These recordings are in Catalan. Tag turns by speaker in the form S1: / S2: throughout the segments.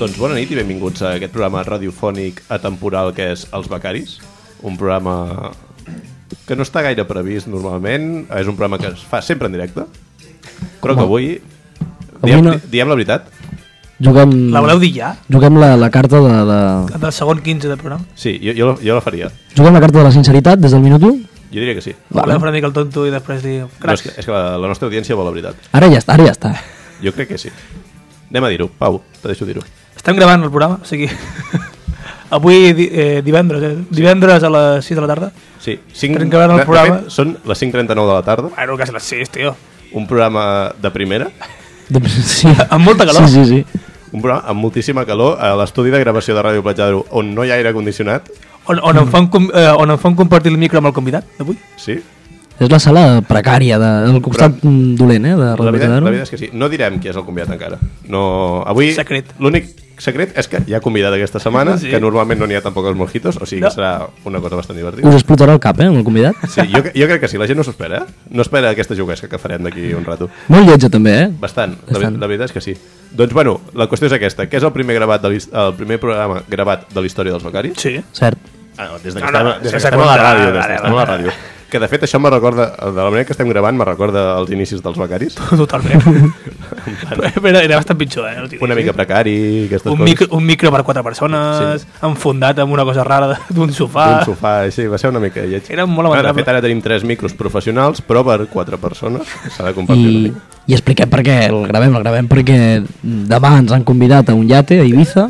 S1: Doncs bona nit i benvinguts a aquest programa radiofònic atemporal que és Els Becaris, un programa que no està gaire previst normalment, és un programa que es fa sempre en directe, però que avui,
S2: Avui
S1: diem,
S2: no.
S1: diem la veritat,
S2: Juguem...
S1: Mm.
S3: La voleu dir ja?
S2: Juguem la, la carta de, de...
S3: Del segon 15 del programa?
S1: sí, jo, jo, la- jo la faria,
S2: Juguem la carta de la sinceritat des del minut 1?
S1: jo diria que sí.
S3: Vale. Voleu fer una mica el tonto i després dir...
S1: No, és,
S3: Crac,
S1: Doncs que, és que la, la nostra audiència vol la veritat,
S2: Ara ja està, ara ja està.
S1: jo crec que sí. Anem a dir-ho, Pau, te deixo dir-ho.
S3: estem gravant el programa, o sigui... Avui di- eh, divendres, eh? Divendres a les 6 de la tarda.
S1: Sí, 5,
S3: Tenim que veure el programa.
S1: són les 5.39 de la tarda,
S3: Bueno, quasi les 6, tio.
S1: un programa de primera,
S2: De- Sí.
S3: Amb molta calor.
S2: Sí, sí, sí.
S1: un programa amb moltíssima calor a l'estudi de gravació de Ràdio Platja d'Aro on no hi ha aire condicionat,
S3: On, on, em fan, com- eh, on em fan compartir el micro amb el convidat d'avui.
S1: sí,
S2: És la sala precària, de, del costat
S1: Però-
S2: mm, dolent, eh? De
S1: La veritat,
S2: Roberto
S1: la
S2: Dano.
S1: veritat és que sí. No direm qui és el convidat encara. No... Avui,
S3: Secret.
S1: L'únic secret és que hi ha convidat aquesta setmana,
S3: Sí.
S1: sí. que normalment no n'hi ha tampoc els mojitos, o sigui no.
S3: No.
S1: que serà una cosa bastant divertida.
S2: Us explotarà el cap, eh, amb el convidat.
S1: Sí, jo, jo crec que sí, la gent no s'ho espera, eh? No espera aquesta juguesca que farem d'aquí un rato.
S2: Molt lletja, també, eh?
S1: Bastant, la,
S2: Bastant.
S1: ve- la veritat és que sí. Doncs bueno, la qüestió és aquesta. Què és el primer gravat de l'his- el primer programa gravat de la història dels becaris?
S3: Sí.
S2: Cert.
S1: Ah, no, des de que,
S3: No, no,
S1: estem, des de que
S3: sense
S1: estem a la
S3: comptar,
S1: ràdio, des
S3: vale,
S1: de que estem a la
S3: vale.
S1: ràdio. Que de fet això me recorda, de la manera que estem gravant, me recorda els inicis dels becaris.
S3: Totalment. Però era, era bastant pitjor, eh? No t'hi
S1: Una
S3: diré.
S1: mica precari, aquestes
S3: un
S1: coses.
S3: micro, un micro per quatre persones,
S1: Sí.
S3: sí. enfondat amb una cosa rara de- d'un sofà.
S1: d'un sofà, sí, va ser una mica lleig.
S3: Era molt
S1: Clar, De
S3: lamentable.
S1: fet, ara tenim tres micros professionals, però per quatre persones s'ha de compartir
S3: Mm.
S1: I... una
S2: I,
S1: mica.
S2: I expliquem per què el gravem, el gravem perquè demà ens han convidat a un iate a Ibiza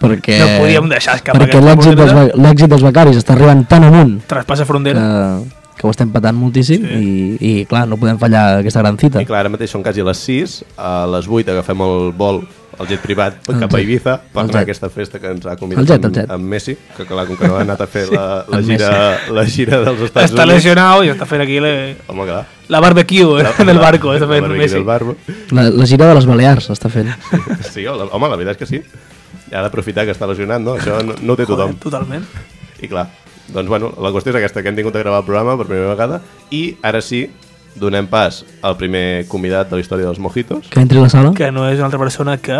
S2: perquè,
S3: No podíem deixar escapar
S2: perquè
S3: aquesta
S2: l'èxit dels,
S3: oportunitat.
S2: be- l'èxit dels becaris està arribant tan amunt
S3: Traspassa
S2: que,
S3: frontera.
S1: Ah.
S2: Eh, que ho estem patant moltíssim sí. i, i clar, no podem fallar aquesta gran cita
S1: I clar, ara mateix són quasi les 6, a les 8 agafem el vol al jet privat
S2: El
S1: cap a
S2: jet.
S1: Ibiza per anar
S2: El
S1: a
S2: jet.
S1: aquesta festa que ens ha
S2: El
S1: convidat
S2: jet, el
S1: amb,
S2: jet.
S1: amb Messi, que clar, com que no ha anat a fer la, la,
S2: Amb
S1: gira, la gira dels Estats
S3: Està
S1: Units.
S3: lesionado i està fent aquí la,
S1: Home, clar.
S3: la barbecue eh, del barco. Està
S1: La
S3: fent
S1: barbecue
S3: Messi.
S1: del barbo.
S2: la, la gira de les Balears està fent
S1: Sí, home, la- home, la veritat és que sí. Ha d'aprofitar que està lesionat, no? Això no, no ho té tothom.
S3: Joder, totalment.
S1: I clar, doncs bueno, la qüestió és aquesta, que hem tingut a gravar el programa per primera vegada i ara sí, donem pas al primer convidat de la història dels mojitos.
S2: que entri a la sala
S3: Que no és una altra persona que...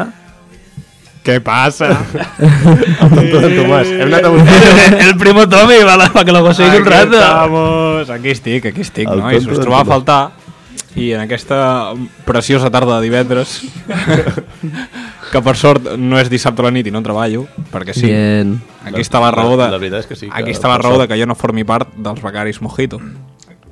S1: Què passa? el tonto d'en Tomàs. Hem anat a buscar...
S3: el primo Tommy, va, va que lo conseguís un rato.
S4: estamos. Aquí estic, aquí estic,
S1: El
S4: el nois.
S1: tonto
S4: Us
S1: del
S4: trobava a
S1: tonto.
S4: faltar i en aquesta preciosa tarda de divendres que per sort no és dissabte a la nit i no treballo perquè sí,
S2: Bien.
S4: aquí està la raó de,
S1: La- la veritat és que sí, que
S4: aquí està la
S1: per
S4: raó de
S1: sort.
S4: que jo no formi part dels becaris Mojito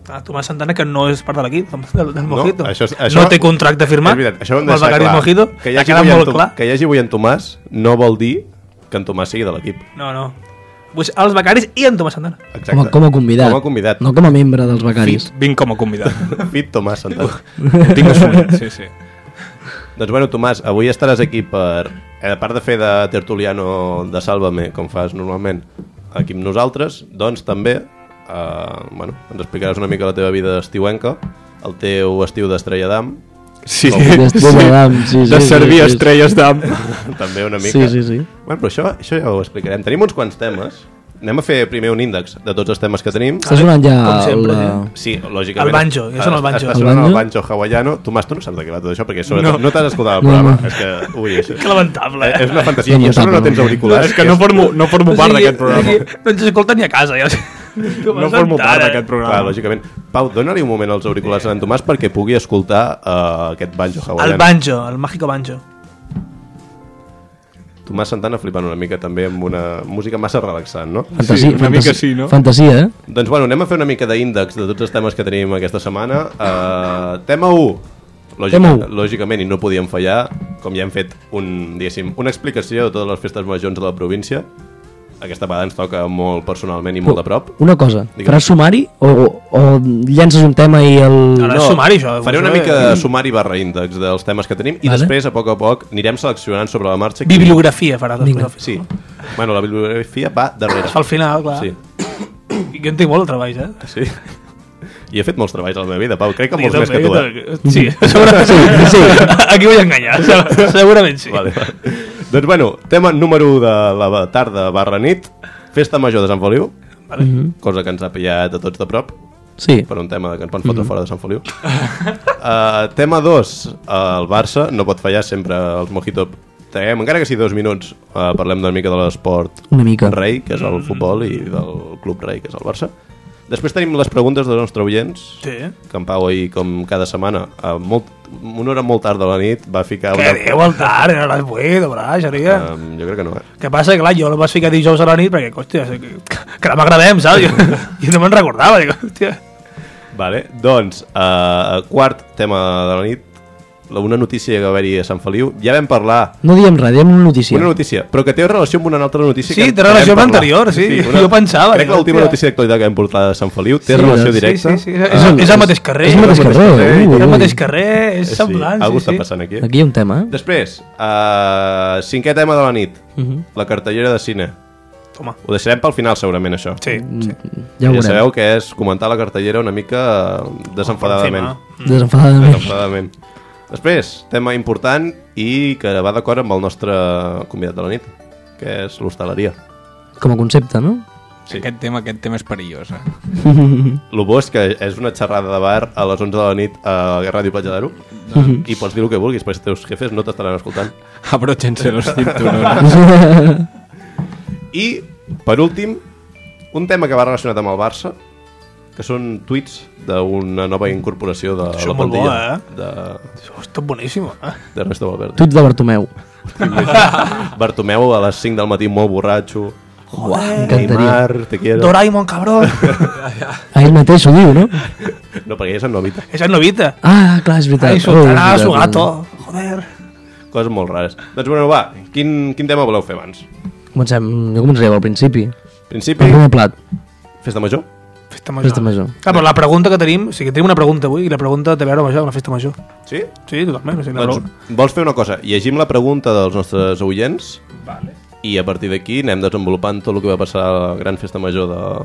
S3: Ah, Tomàs Santana, que no és part de l'equip, del, del
S1: No,
S3: Mojito.
S1: això, és-
S3: no té contracte firmat.
S1: És veritat, això ho hem
S3: amb
S1: de
S3: el
S1: deixar
S3: Becaris
S1: clar.
S3: Mojito.
S1: Que hi
S3: ha
S1: hagi,
S3: quedat
S1: avui en
S3: molt
S1: Tom-
S3: clar.
S1: que hi hagi avui en Tomàs no vol dir que en Tomàs sigui de l'equip.
S3: No, no. Vull ser Els Becaris i en Tomàs Santana.
S1: Exacte.
S2: com a, com a convidat
S1: Com a convidat.
S2: no com a membre dels becaris
S4: vinc com a convidat
S1: Fit Tomàs Santana.
S4: Ho tinc assumit, sí, sí
S1: doncs bueno, Tomàs, avui estaràs aquí per... eh, A part de fer de tertuliano de Sálvame, com fas normalment aquí amb nosaltres, doncs també eh, bueno, ens explicaràs una mica la teva vida estiuenca, el teu estiu d'Estrella d'Am,
S4: Sí,
S2: D'Estrella d'Am, sí, sí,
S4: de
S2: sí,
S4: servir
S2: sí, sí.
S4: estrelles d'am.
S1: també una mica.
S2: sí, sí, sí
S1: Bueno, però això, això ja ho explicarem. Tenim uns quants temes. Anem a fer primer un índex de tots els temes que tenim.
S2: està sonant ja
S3: Com sempre,
S2: la...
S1: Sí, lògicament.
S3: El banjo, ja sona el banjo.
S1: Està
S2: El
S1: sonant el
S2: banjo?
S1: banjo hawaiano. Tomàs, tu no saps de què va tot això, perquè sobretot no,
S4: No.
S1: no t'has escoltat el
S2: No,
S1: programa.
S2: no.
S1: És que, ui, això.
S3: Que lamentable, eh?
S1: És una fantasia.
S2: No, no,
S1: I a sobre no
S2: no.
S1: tens
S4: No,
S1: auriculars.
S4: és que no formo, no formo part d'aquest programa.
S3: No ens escolten ni a casa, ja.
S4: No formo part d'aquest
S1: Clar,
S4: programa.
S1: lògicament. Pau, dona-li un moment als auriculars a en Tomàs perquè pugui escoltar uh, aquest banjo hawaiano.
S3: El banjo, el màgico banjo.
S1: Tomàs Santana flipant una mica també amb una música massa relaxant, no?
S2: Fantasia,
S4: una mica
S2: fantasia,
S4: sí, no?
S2: fantasia, eh?
S1: Doncs bueno, anem a fer una mica d'índex de tots els temes que tenim aquesta setmana. Uh, tema 1. Lògica,
S2: Tema u.
S1: Lògicament, i no podíem fallar, com ja hem fet un, diguéssim, una explicació de totes les festes majors de la província. Aquesta vegada ens toca molt personalment i molt de prop.
S3: Uh,
S2: Una cosa,
S1: Digue'm.
S2: faràs sumari o, o, o llences un tema i el...
S3: Ara és sumari, això.
S1: Faré una
S3: Eh,
S1: mica de sumari barra índex dels temes que tenim i
S2: Vale.
S1: després, a poc a poc, anirem seleccionant sobre la marxa. qui-
S3: Bibliografia farà.
S2: Vinga.
S3: després.
S1: Sí. Bueno, la bibliografia va darrere.
S3: Es fa al final, clar.
S1: Sí,
S3: Jo en tinc molt de treballs, eh?
S1: sí. I he fet molts treballs a la meva vida, Pau. Crec que molts més que tu. Eh?
S3: tu. Sí, segurament sí. sí. Aquí vaig enganyar, se- segurament sí.
S1: Vale, vale. doncs bueno, tema número 1 de la tarda barra nit, festa major de Sant Feliu, vale. cosa que ens ha pillat a tots de prop,
S2: Mhm. Sí.
S1: per un tema que ens van fotre fora de Sant Feliu. uh, tema 2, el Barça no pot fallar sempre els Mojito. Tenim, encara que sigui dos minuts, uh, parlem una mica de l'esport
S2: Una mica.
S1: rei, que és el futbol, i del club rei, que és el Barça. Després tenim les preguntes dels nostres oients.
S3: Sí. ¿eh?
S1: que en Pau ahir, com cada setmana, a molt, una hora molt tard de la nit, va ficar...
S3: Què diu el tard? Era a les 8, dobra, xeria.
S1: Um, jo crec que no, eh?
S3: Què passa? Que clar, jo el vas ficar dijous a la nit perquè, hòstia, que, que demà gravem, saps? Jo, jo no me'n recordava, dic, hòstia.
S1: Vale, doncs, uh, quart tema de la nit, la- una notícia que va haver-hi a Sant Feliu. Ja vam parlar
S2: No diem res, diem una notícia.
S1: una notícia, però que té relació amb una altra notícia.
S3: Sí,
S1: que
S3: té
S1: que vam
S3: relació amb
S1: parlar.
S3: l'anterior, sí, jo pensava,
S1: Crec
S3: dic,
S1: que l'última
S3: hòstia.
S1: notícia d'actualitat que vam portar de Sant Feliu té
S2: Sí,
S1: relació
S2: doncs, sí,
S1: directa. Ah,
S3: Sí, sí, sí. És, el- és el mateix carrer. eh?
S2: És el mateix carrer, ui,
S3: És el
S2: ui.
S3: mateix carrer, és
S1: Sí,
S3: semblant,
S1: Algú està
S3: sí, sí.
S1: passant aquí.
S2: Aquí hi ha un tema, eh?
S1: Després, uh, cinquè tema de la nit,
S2: Mhm.
S1: la cartellera de cine.
S3: Toma.
S1: Ho deixarem pel final, segurament, això.
S3: Sí, sí.
S2: Ja
S1: Ja
S2: ho veurem.
S1: sabeu que és comentar la cartellera una mica eh, desenfadadament.
S2: Desenfadadament.
S1: Desenfadadament. Després, tema important i que va d'acord amb el nostre convidat de la nit, que és l'hostaleria.
S2: Com a concepte, no?
S1: Sí.
S4: Aquest tema, aquest tema és perillós, eh?
S1: El bo és que és una xerrada de bar a les 11 de la nit a Ràdio Platja d'Aro
S2: Mhm.
S1: i pots dir el que vulguis, perquè els teus jefes no t'estaran escoltant.
S4: Abróchense los cinturones.
S1: I, per últim, un tema que va relacionat amb el Barça, que són tuits d'una nova incorporació de
S3: Això
S1: la
S3: molt bo,
S1: plantilla
S3: eh?
S1: de-
S3: Està boníssim, eh?
S1: d'Ernesto de, Valverde.
S2: Tuits de Bartomeu.
S1: Bartomeu a les 5 del matí molt borratxo.
S2: Uah, m'encantaria.
S1: Neymar, te quiero.
S3: Doraemon, cabrón.
S2: A ell mateix ho diu, no?
S1: No, perquè ja és en Novita.
S3: Esa es novita.
S2: Ah, clar, és veritat.
S3: Ahí soltará
S2: Oh,
S3: a
S2: és
S3: su
S2: veritat.
S3: gato. Joder.
S1: Coses molt rares. Doncs bueno, va, quin, quin tema voleu fer abans?
S2: Comencem, jo començaré al principi.
S1: Principi,
S2: Per primer plat.
S1: festa major?
S3: Festa major.
S2: Festa major.
S3: Clar, però la pregunta que tenim... O sigui, tenim una pregunta avui i la pregunta té a veure amb això, amb la festa major.
S1: Sí?
S3: Sí, totalment. O sigui, la
S1: Doncs
S3: doncs...
S1: vols fer una cosa? Llegim la pregunta dels nostres oients i a partir d'aquí anem desenvolupant tot el que va passar a la gran festa major de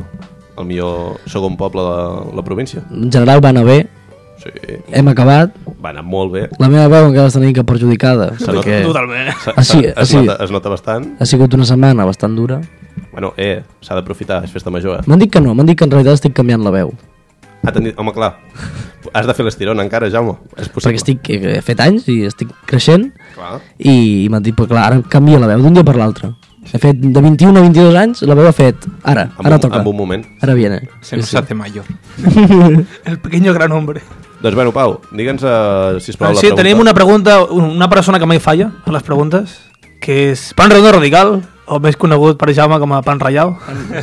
S1: el millor segon poble de la província.
S2: En general va anar bé,
S1: Sí,
S2: hem acabat.
S1: va anar molt bé.
S2: La meva veu encara està una mica perjudicada.
S1: Se nota.
S2: perquè
S3: Totalment.
S1: S-
S2: Ah, sí,
S1: s-
S2: ah,
S1: es,
S2: sí.
S1: nota, es nota bastant.
S2: Ha sigut una setmana bastant dura.
S1: Bueno, eh, s'ha d'aprofitar, és festa major, eh?
S2: M'han dit que no, m'han dit que en realitat estic canviant la veu.
S1: Ah, t'han dit- home, clar, has de fer l'estirona encara, Jaume. És possible.
S2: Perquè estic, eh, he fet anys i estic creixent
S1: Clar.
S2: i m'han dit, però clar, ara canvia la veu d'un dia per l'altre. He fet de 21 a 22 anys, la veu ha fet ara,
S1: En
S2: ara
S1: un-
S2: toca.
S1: en un moment.
S2: Ara viene.
S4: Se nos hace mayor.
S3: El pequeño gran hombre.
S1: Doncs bueno, Pau, digue'ns, uh, sisplau,
S2: Ah,
S3: Però
S1: la
S3: sí,
S1: pregunta.
S3: tenim una pregunta, una persona que mai falla a les preguntes, que és Pan Redondo Radical, o més conegut per Jaume com a Pan Rallau.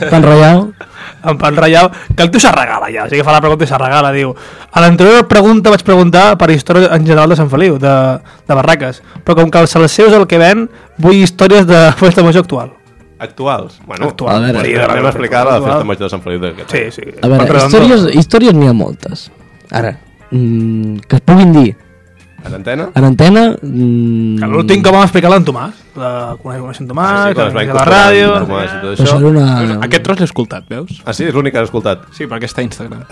S2: Tan reial,
S3: en Pan Rallau, que el tio se regala ja, o sigui que fa la pregunta i se regala, diu a l'anterior pregunta vaig preguntar per història en general de Sant Feliu, de, de Barraques però com que els salseus el que ven vull històries de festa major actual
S1: Actuals. Bueno,
S3: Actual.
S2: A veure.
S1: sí,
S3: Podria
S1: vam
S3: haver-
S1: explicar la
S3: actual.
S1: festa major de Sant Feliu de Catalunya.
S3: sí, sí
S2: A veure, històries, històries n'hi ha moltes. Ara, mm, que es puguin dir
S1: A l'antena?
S2: en antena... Mm,
S3: l'últim que vam explicar l'en Tomàs la coneix, coneix en Tomàs,
S1: Ah, sí,
S3: sí,
S1: quan es va
S3: coneix a la
S1: incorporar
S3: ràdio Ah.
S1: el Tomàs i tot
S2: Però
S1: això.
S2: això era una...
S4: Aquest tros l'he escoltat, veus?
S1: Ah, sí? És l'únic que has escoltat.
S4: Sí, perquè està a Instagram.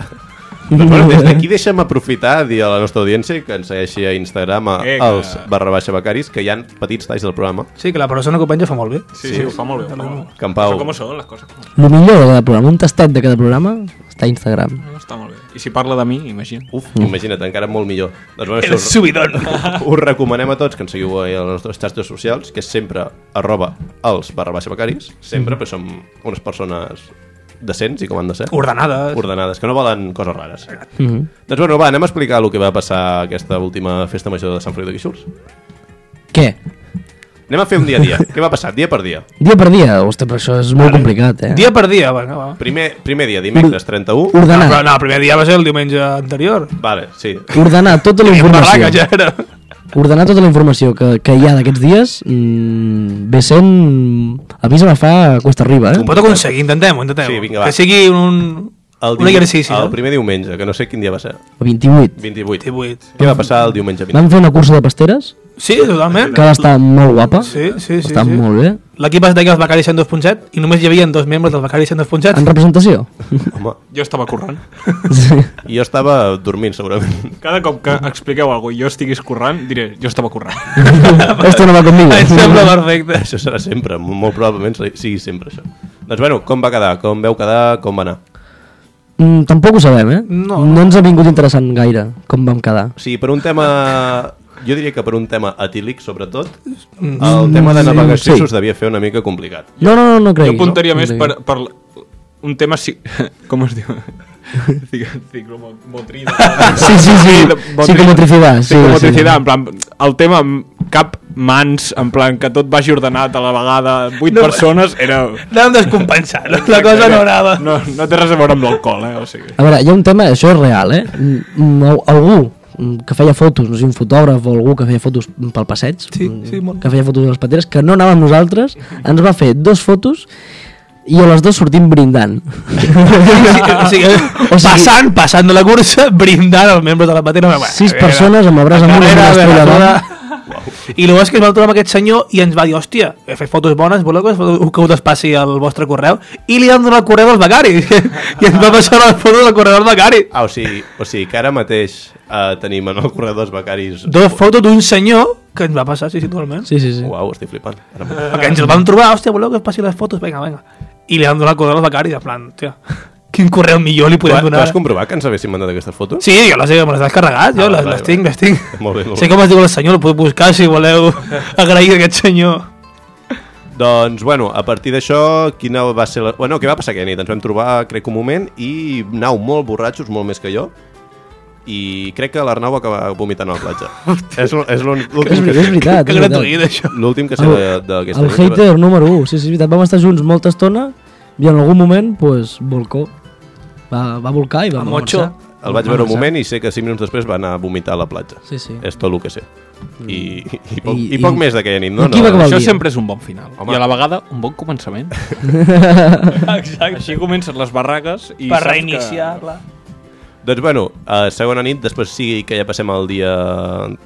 S1: Doncs bueno, des d'aquí deixa'm aprofitar a dir a la nostra audiència que ens segueixi a Instagram a
S4: Vinga.
S1: els barra baixa becaris, que hi han petits talls del programa.
S3: sí, que la persona que ho penja fa molt bé
S4: Sí, sí, ho fa molt bé. Ho fa molt bé.
S1: Que en Pau...
S4: Això com són les coses? Com són.
S2: El millor de cada programa, un tastet de cada programa, està a Instagram.
S4: No, està molt bé. I si parla de mi, imagina.
S1: Uf, imagina't, encara molt millor. Doncs bueno,
S4: Uh,
S3: el
S1: això,
S3: subidon
S1: us recomanem a tots que ens seguiu a les nostres xarxes socials, que és sempre arroba els barra baixa becaris, sempre,
S3: Mm.
S1: perquè som unes persones decents i com han de ser.
S3: ordenades
S1: ordenades, que no volen coses rares.
S2: Mm -hmm.
S1: Doncs bueno, va, anem a explicar el que va passar aquesta última festa major de Sant Feliu de Guíxols.
S2: Què?
S1: Anem a fer un dia a dia. Què va passar dia per dia?
S2: Dia per dia? Hosti, però això és molt complicat, eh?
S3: dia per dia bueno, va.
S1: Primer, primer dia, dimecres 31.
S3: No, però
S2: Ordenar,
S3: no, el primer dia va ser el diumenge anterior
S1: Vale, sí.
S2: ordenar tota la
S3: Barraca
S2: informació.
S3: ja era
S2: Ordenar tota la informació que, que hi ha d'aquests dies mmm, ve sent... A mi se me fa cuesta arriba, eh?
S3: Ho pot aconseguir, intentem-ho, intentem-ho.
S1: Sí, vinga, va.
S3: Que sigui un, un
S1: diu-
S3: exercici. eh?
S1: El
S3: no?
S1: primer diumenge, que no sé quin dia va ser.
S2: El 28.
S1: 28.
S3: 18.
S1: Què va passar el diumenge 20?
S2: Vam fer una cursa de pasteres,
S3: Sí, totalment.
S2: que va estar molt guapa.
S3: Sí, sí, sí,
S2: Està
S3: sí.
S2: molt bé.
S3: L'equip es deia els Becari 102.7 i només hi havia dos membres del Becari 102.7.
S2: En representació?
S1: Home,
S4: Jo estava currant.
S2: sí.
S1: jo estava dormint, segurament.
S4: Cada cop que expliqueu alguna cosa i jo estiguis currant, diré, jo estava currant.
S2: Esto no va conmigo.
S3: Em sembla perfecte.
S1: Això serà sempre, molt probablement sigui sempre això. Doncs bueno, com va quedar? Com veu quedar? Com va anar?
S2: Mm, tampoc ho sabem, eh?
S3: No.
S2: no ens ha vingut interessant gaire com vam quedar.
S1: O sigui, per un tema... Jo diria que per un tema etílic, sobretot, el tema de navegació
S2: sí.
S1: s'us devia fer una mica complicat.
S2: No, no, no, no
S4: Jo
S2: creguis.
S4: apuntaria
S2: no,
S4: més
S2: no
S4: per,
S2: creguis.
S4: per un tema... Si... Com es diu? Cic- Ciclomotrida.
S2: Sí, sí, sí. Psicomotricidad. Sí,
S4: Psicomotricitat,
S2: sí.
S4: en plan, el tema amb cap mans, en plan, que tot vagi ordenat a la vegada, vuit
S3: No,
S4: persones, era...
S3: Anàvem descompensant, la cosa no anava. No.
S4: No, no té res a veure amb l'alcohol, eh? O sigui.
S2: A veure, hi ha un tema, això és real, eh? Mm, al- Algú mm, que feia fotos, no sé, un fotògraf o algú que feia fotos mm, pel passeig,
S3: Sí,
S2: mm,
S3: sí, molt.
S2: que feia fotos a les pateres, que no anava amb nosaltres, ens va fer dos fotos i a les dues sortim brindant.
S3: O sigui, o sigui, passant, passant de la cursa, brindant els membres de la patera. Bueno,
S2: Sis
S3: era-
S2: persones amb el braç amunt i
S3: Era-
S2: una
S3: era-
S2: estrella
S3: era-
S2: d'or.
S3: I el bo és que es va trobar amb aquest senyor i ens va dir, hòstia, he fet fotos bones, voleu que, us- que us despassi el vostre correu? I li vam donar el correu al becari. I ens va passar les fotos del correu del becari.
S1: Ah, o sigui, o sigui que ara mateix eh, tenim en el correu dels becaris...
S3: Dos fotos d'un senyor que ens va passar, sí, sí, totalment.
S2: Sí, sí, sí.
S1: Uau, estic flipant. Ara mateix.
S3: Perquè ens el vam trobar, hòstia, voleu que us passi les fotos? Vinga, vinga. I li vam donar el correu al becari, de plan, hòstia, quin correu millor li
S1: Tu
S3: podem
S1: tu
S3: donar.
S1: has comprovar que ens haguéssim mandat aquestes fotos?
S3: Sí, jo les he, me les has carregat, jo
S1: Ah,
S3: les,
S1: vale,
S3: les tinc,
S1: vale.
S3: les tinc.
S1: Molt bé, molt
S3: sé
S1: bé.
S3: com es diu el senyor, el puc buscar si voleu agrair a aquest senyor.
S1: Doncs, bueno, a partir d'això, quina va ser la... Bueno, què va passar aquella nit? Ens vam trobar, crec, un moment i anau molt borratxos, molt més que jo, i crec que l'Arnau va acabar vomitant a la platja. és l'ú- és l'ú-
S2: És,
S1: l'últim
S2: ver-
S1: que,
S2: és veritat,
S3: que
S2: és veritat.
S3: gratuït, això.
S1: l'últim que sé
S2: El,
S1: de- d'aquesta
S2: el
S1: nit.
S2: hater número 1, sí, sí, és veritat. Vam estar junts molta estona i en algun moment, pues, volcó. Va, va volcar i va,
S3: A
S2: va
S3: Mocho.
S2: marxar.
S1: El vaig
S2: Ah,
S1: veure un moment Eh, i sé que 5 minuts després va anar a vomitar a la platja.
S2: Sí, sí.
S1: És tot el que sé. I, i, i, poc,
S2: Mm. I-
S1: i, poc
S2: i-
S1: més d'aquella nit, no?
S2: i aquí va
S1: no,
S2: acabar el
S4: Això
S2: dia.
S4: sempre és un bon final.
S1: Home.
S4: I a la vegada, un bon començament. Exacte. Així comences les barraques i
S3: per
S4: saps
S3: reiniciar,
S4: Que...
S3: clar.
S1: Doncs bueno, a segona nit, després sí que ja passem al dia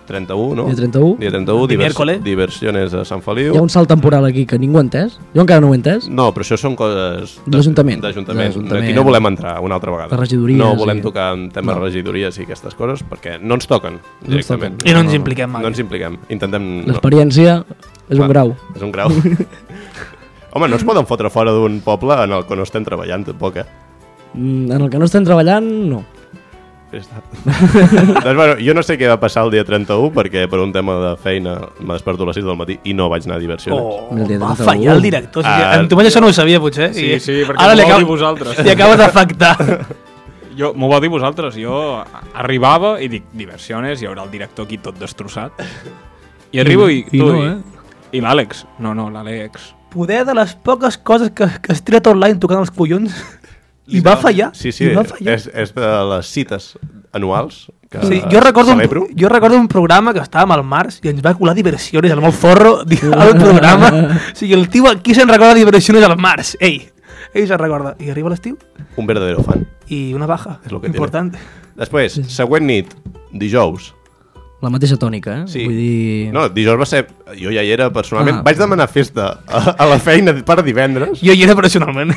S1: 31, no?
S2: Dia 31.
S1: Dia 31,
S3: Di miércoles.
S1: diversiones a Sant Feliu.
S2: Hi ha un salt temporal aquí que ningú ha entès. Jo encara no ho he entès.
S1: No, però això són coses... de-
S2: D'Ajuntament.
S1: D'Ajuntament.
S2: D'Ajuntament.
S1: Aquí no volem entrar una altra vegada.
S2: De regidories
S1: No volem
S2: i-
S1: tocar en temes no. regidories i aquestes coses perquè no ens toquen directament.
S2: toquen.
S3: I no ens impliquem mai.
S1: No ens impliquem. Intentem... no.
S2: L'experiència és un
S1: Va,
S2: grau.
S1: És un grau. Home, no es poden fotre fora d'un poble en el que no estem treballant, tampoc, eh?
S2: Mm, En el que no estem treballant, no.
S1: Ja està. doncs, bueno, jo no sé què va passar el dia 31 perquè per un tema de feina me desperto a les 6 del matí i no vaig anar a diversiones.
S3: Oh,
S2: El dia
S3: va
S2: 31.
S3: fallar el director. Ah,
S1: Ah.
S3: en Tomàs això no ho sabia, potser.
S4: Sí,
S3: i
S4: sí, perquè m'ho
S3: li
S4: vau
S3: acaba-
S4: dir vosaltres.
S3: Li acabes d'afectar.
S4: Jo, m'ho vau dir vosaltres, jo arribava i dic, diversiones, hi haurà el director aquí tot destrossat. I arribo i,
S2: i
S4: tu,
S2: no, eh?
S4: i, i l'Àlex. No, no, l'Àlex.
S3: Poder de les poques coses que, que es tira tot l'any tocant els collons. I va fallar.
S1: Sí, sí,
S3: I va fallar.
S1: és, és de les cites anuals que
S3: Sí, jo, recordo
S1: celebro.
S3: un, jo recordo un programa que estàvem al març i ens va colar diversiones al molt forro al programa. O sigui, el tio aquí se'n recorda diversiones al març. Ei, ell se'n recorda. I arriba l'estiu
S1: Un verdadero fan.
S3: i una baja
S1: És lo que tiene.
S3: important.
S1: Després, següent nit, dijous.
S2: La mateixa tònica, eh?
S1: Sí.
S2: Vull dir...
S1: No, dijous va ser... Jo ja hi era personalment.
S2: Ah.
S1: Vaig demanar festa a, a la feina per divendres
S3: Jo hi era personalment.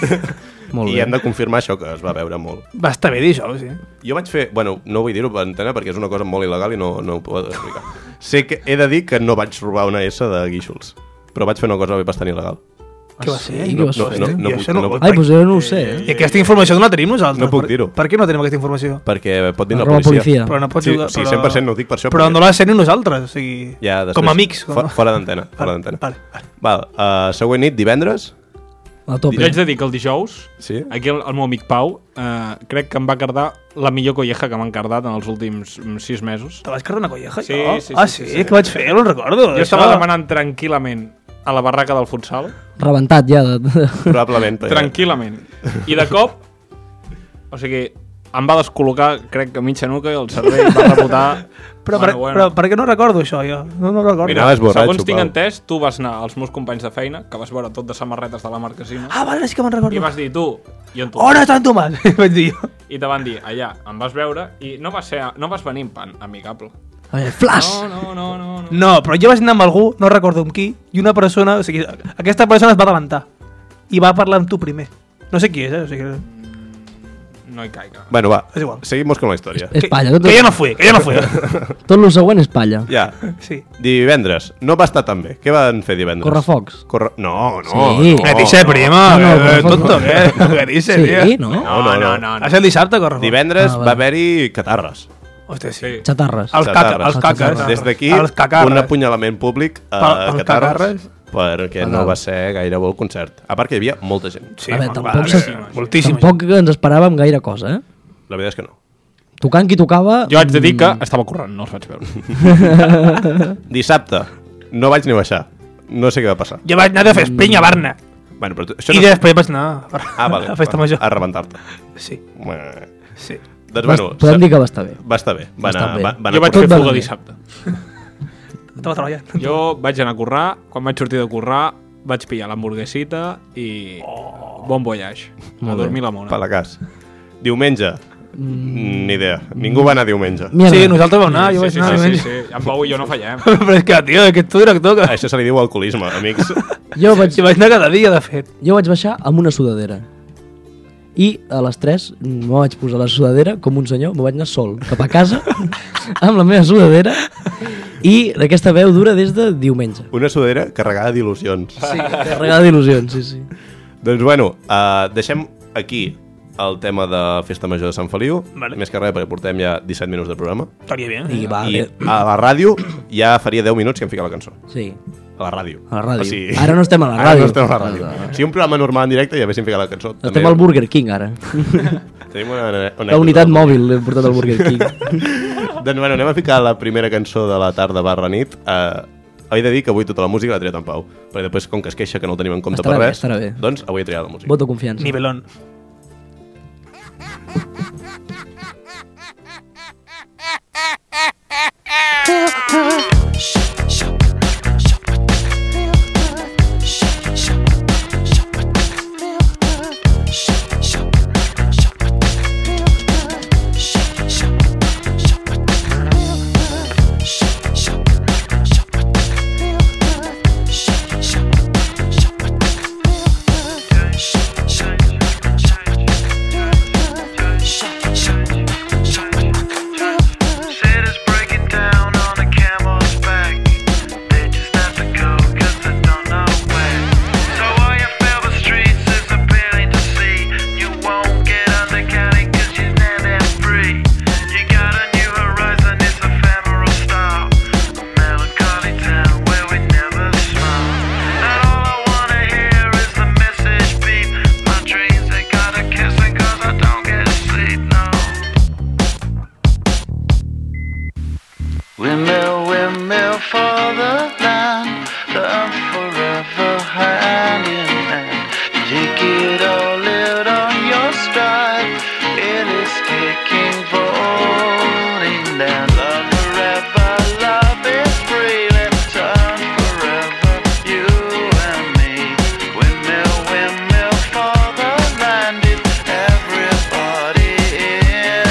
S2: Molt
S1: i
S2: bé.
S1: hem de confirmar això que es va veure molt.
S3: Va estar bé dijous, sí.
S1: Jo vaig fer... Bueno, no vull dir-ho per antena perquè és una cosa molt il·legal i no, no ho puc explicar. sé que he de dir que no vaig robar una S de Guíxols, però vaig fer una cosa bastant il·legal.
S3: Què va ser?
S2: I
S3: No,
S2: què vas
S1: no,
S2: fer?
S1: no, no,
S3: I
S1: puc-
S3: això
S1: no
S3: pot-
S1: puc-
S2: Ah, Ai, doncs jo no ho sé, eh?
S3: I aquesta informació no la tenim nosaltres.
S1: No puc
S3: Per-
S1: dir-ho.
S3: Per què no tenim aquesta informació?
S1: Perquè pot dir la
S2: Arroba
S1: policia.
S2: policia.
S3: Però no pots
S1: Sí,
S3: jugar-
S1: sí,
S3: però-
S1: 100% no ho dic per això,
S3: Però
S1: perquè-
S3: no la sé ni nosaltres, o sigui...
S1: Ja, després,
S3: com amics.
S1: Fo fora d'antena. Fora d'antena.
S3: Vale, vale.
S1: Val, uh, següent nit, divendres.
S2: A
S4: Jo haig
S2: tope.
S4: de dir que el dijous,
S1: Sí.
S4: aquí el, el meu amic Pau, eh, crec que em va cardar la millor colleja que m'han cardat en els últims mm, sis mesos.
S3: Te vas quedar una colleja,
S4: Sí,
S3: jo?
S4: sí, sí,
S3: ah,
S4: sí,
S3: sí,
S4: sí.
S3: que vaig fer, no en recordo.
S4: Jo
S3: això.
S4: estava demanant tranquil·lament a la barraca del futsal,
S2: Rebentat ja. De...
S1: Probablement. perquè-
S4: tranquil·lament. I de cop, o sigui, em va descol·locar, crec que mitja nuca, i el cervell va rebotar...
S3: Però, per, però per què no recordo això, jo? No, no recordo.
S1: Mira. Anaves Ah, borratxo,
S4: Segons tinc
S1: Pau.
S4: entès, tu vas anar als meus companys de feina, que vas veure tot de samarretes de la marquesina,
S3: Ah, vale, sí que me'n
S4: i
S3: recordo.
S4: vas dir, tu, i en tu.
S3: On està en Tomàs? vaig dir jo.
S4: I te van dir, allà, em vas veure, i no vas, ser, no vas venir en pan amigable.
S2: A veure, flash!
S4: No, no, no, no. no.
S3: No, però jo vaig anar amb algú, no recordo amb qui, i una persona, o sigui, aquesta persona es va levantar i va parlar amb tu primer. No sé qui és, eh? O sigui,
S4: No hi caiga.
S1: Bueno, va,
S3: És igual.
S1: seguimos con la història.
S2: És palla. Tot,
S3: Que jo no fui, que jo no fui.
S2: tot el següent és palla.
S1: Ja,
S3: Sí.
S1: divendres. No va estar tan bé. Què van fer divendres?
S2: Correfocs.
S1: Corre... No, no.
S2: Sí.
S1: no.
S3: Oh. Que dice prima,
S2: No, no,
S3: que-
S2: no,
S3: tonto,
S2: no.
S3: que que dice,
S2: Sí,
S3: tio.
S2: no?
S1: No, no, no. no,
S3: Va ser el dissabte, corre.
S1: Divendres
S2: Ah,
S1: ah,
S2: vale.
S1: va haver-hi catarres.
S3: Hòstia, sí.
S4: Sí.
S2: Xatarres.
S3: Els caca,
S1: Catarres.
S3: els caques.
S1: Des d'aquí,
S3: Els cacarres.
S1: un apunyalament públic a
S3: Pel- al
S1: Catarres, perquè no
S2: Fatal.
S1: va ser gaire bo el concert. A part que hi havia molta gent.
S3: Sí,
S2: A veure,
S3: home,
S2: tampoc
S3: va,
S2: s'es-
S3: moltíssima gent.
S2: Tampoc ens esperàvem gaire cosa, eh?
S1: La veritat és que no.
S2: Tocant qui tocava...
S4: Jo haig de dir que
S1: Mm.
S4: estava corrent, no els vaig veure.
S1: Dissabte, no vaig ni baixar. No sé què va passar.
S3: Jo vaig anar de fer espring a Barna.
S1: Bueno, però tu- això
S3: I
S1: no...
S3: després vaig anar a
S1: Ah, vale.
S3: a festa major.
S1: A rebentar-te.
S3: Sí,
S1: Bueno,
S3: sí.
S1: doncs,
S2: Vas-
S1: bueno,
S2: Podem
S1: sa-
S2: dir que va estar bé.
S1: va estar bé.
S2: Va
S1: Va anar,
S2: estar bé.
S1: va, va anar
S4: Jo vaig
S1: corrent.
S2: Tot va
S4: fer fuga
S2: bé.
S4: dissabte.
S3: Estava treballant.
S4: Jo vaig anar a currar, quan vaig sortir de currar vaig pillar l'hamburguesita i
S1: Oh.
S4: bon voyage. a
S2: Molt bé.
S4: dormir la mona.
S1: Palacàs. Diumenge. Mm. Ni idea. Ningú va anar diumenge.
S2: Mierda.
S3: Sí, nosaltres vam anar, Ah, jo
S4: sí,
S3: vaig
S4: sí,
S3: anar.
S4: sí, sí,
S3: diumenge.
S4: sí, En Pau i jo no fallem.
S3: Però és que, tio, aquest tu director que...
S1: Això se li diu alcoholisme, amics.
S2: Jo vaig,
S3: Jo vaig anar cada dia, de fet.
S2: jo vaig baixar amb una sudadera. I a les 3 me vaig posar la sudadera com un senyor, me vaig anar sol cap a casa amb la meva sudadera i aquesta veu dura des de diumenge.
S1: Una sudadera carregada d'il·lusions.
S2: Sí, carregada d'il·lusions, sí, sí.
S1: Doncs bueno, uh, deixem aquí el tema de Festa Major de Sant Feliu.
S3: Vale.
S1: Més que res, perquè portem ja 17 minuts de programa.
S3: Estaria bé. eh?
S2: I va,
S1: I
S2: I...
S1: a la ràdio ja faria 10 minuts que em fica la cançó.
S2: sí,
S1: A la ràdio.
S2: a la ràdio.
S1: O sigui,
S2: Ara no estem a la
S1: Ara
S2: ràdio. Ah.
S1: no estem a la ràdio. Si un programa normal en directe ja haguéssim ficat la cançó.
S2: Estem al Burger King, ara.
S1: Tenim una, una,
S2: La unitat mòbil l'hem portat al Burger King.
S1: Doncs bueno, anem a ficar la primera cançó de la tarda barra nit. Uh, he de dir que avui tota la música l'ha triat en Pau. Perquè després, com que es queixa que no ho tenim en compte
S2: Estarà
S1: per
S2: bé,
S1: res,
S2: estarà bé.
S1: doncs avui he triat la música.
S2: Voto confiança.
S3: Nivelón.
S5: Shit is breaking down on a camel's back. They just have to go 'cause they don't know where. So all you feel the streets is appealing to see. You won't get undercounted 'cause you're not that free. You got a new horizon, it's ephemeral style. A melancholy town where we never smile. And all I wanna hear is the message beep. My dreams, they gotta kiss it 'cause I don't get sleep, no. Windmill, windmill for the land, the earth forever hand in hand. Take it all out on your stride, it is kicking, falling down. Love forever, love is free, let's turn forever, you and me. Windmill, windmill for the land, it's everybody in.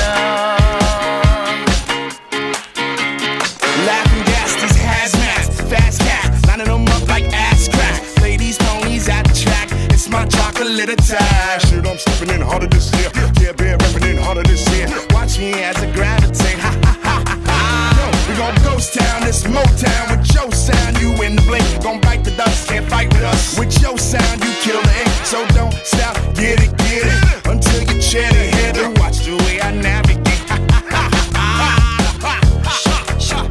S6: Laughing gas, these hazmats, fast cat, lining them up like ass crack. Ladies, ponies at the track, it's my chocolate attack. Shit, I'm stepping in harder this year. Yeah, bear repping in harder this year. Watch me as I gravitate. Ha ha ha ha ha. Yo, we gon' ghost town, this Motown with your sound. You in the blink, gon' bite the dust, can't fight with us. With your sound, you kill the ink, so don't stop, get it, get it. Until you chin it, hit it. Watch the way I navigate. Ha ha ha ha ha.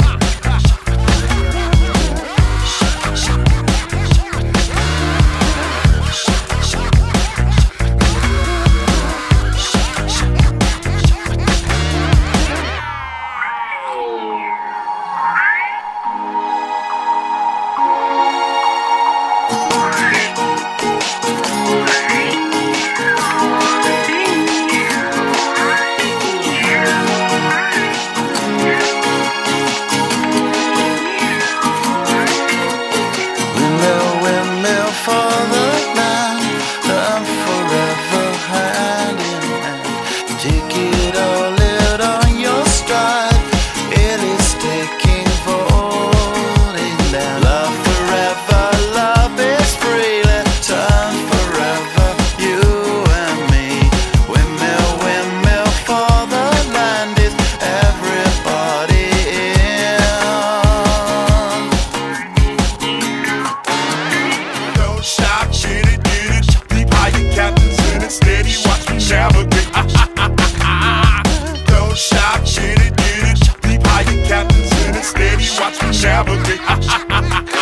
S6: navigate.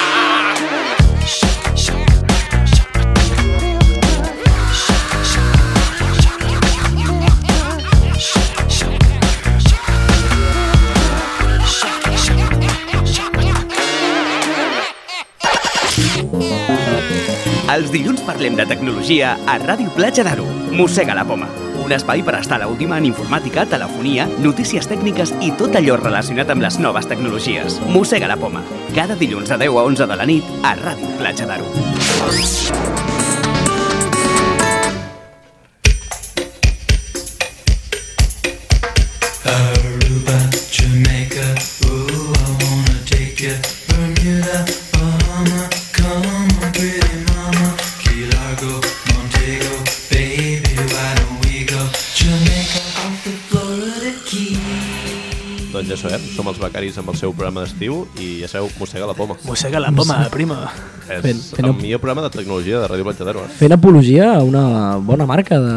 S7: Els dilluns parlem de tecnologia a Ràdio Platja d'Aro. Mossega la poma. Un espai per estar a l'última en informàtica, telefonia, notícies tècniques i tot allò relacionat amb les noves tecnologies. Mossega la poma. Cada dilluns de 10 a 11 de la nit a Ràdio Platja d'Aro.
S1: Doncs ja sabem, som els becaris amb el seu programa d'estiu i ja sabeu, mossega la poma.
S3: Mossega la poma, prima.
S1: És
S2: Fent- fent
S1: el
S2: un-
S1: millor programa de tecnologia de Ràdio Platja d'Aro. eh?
S2: Fent apologia a una bona marca de...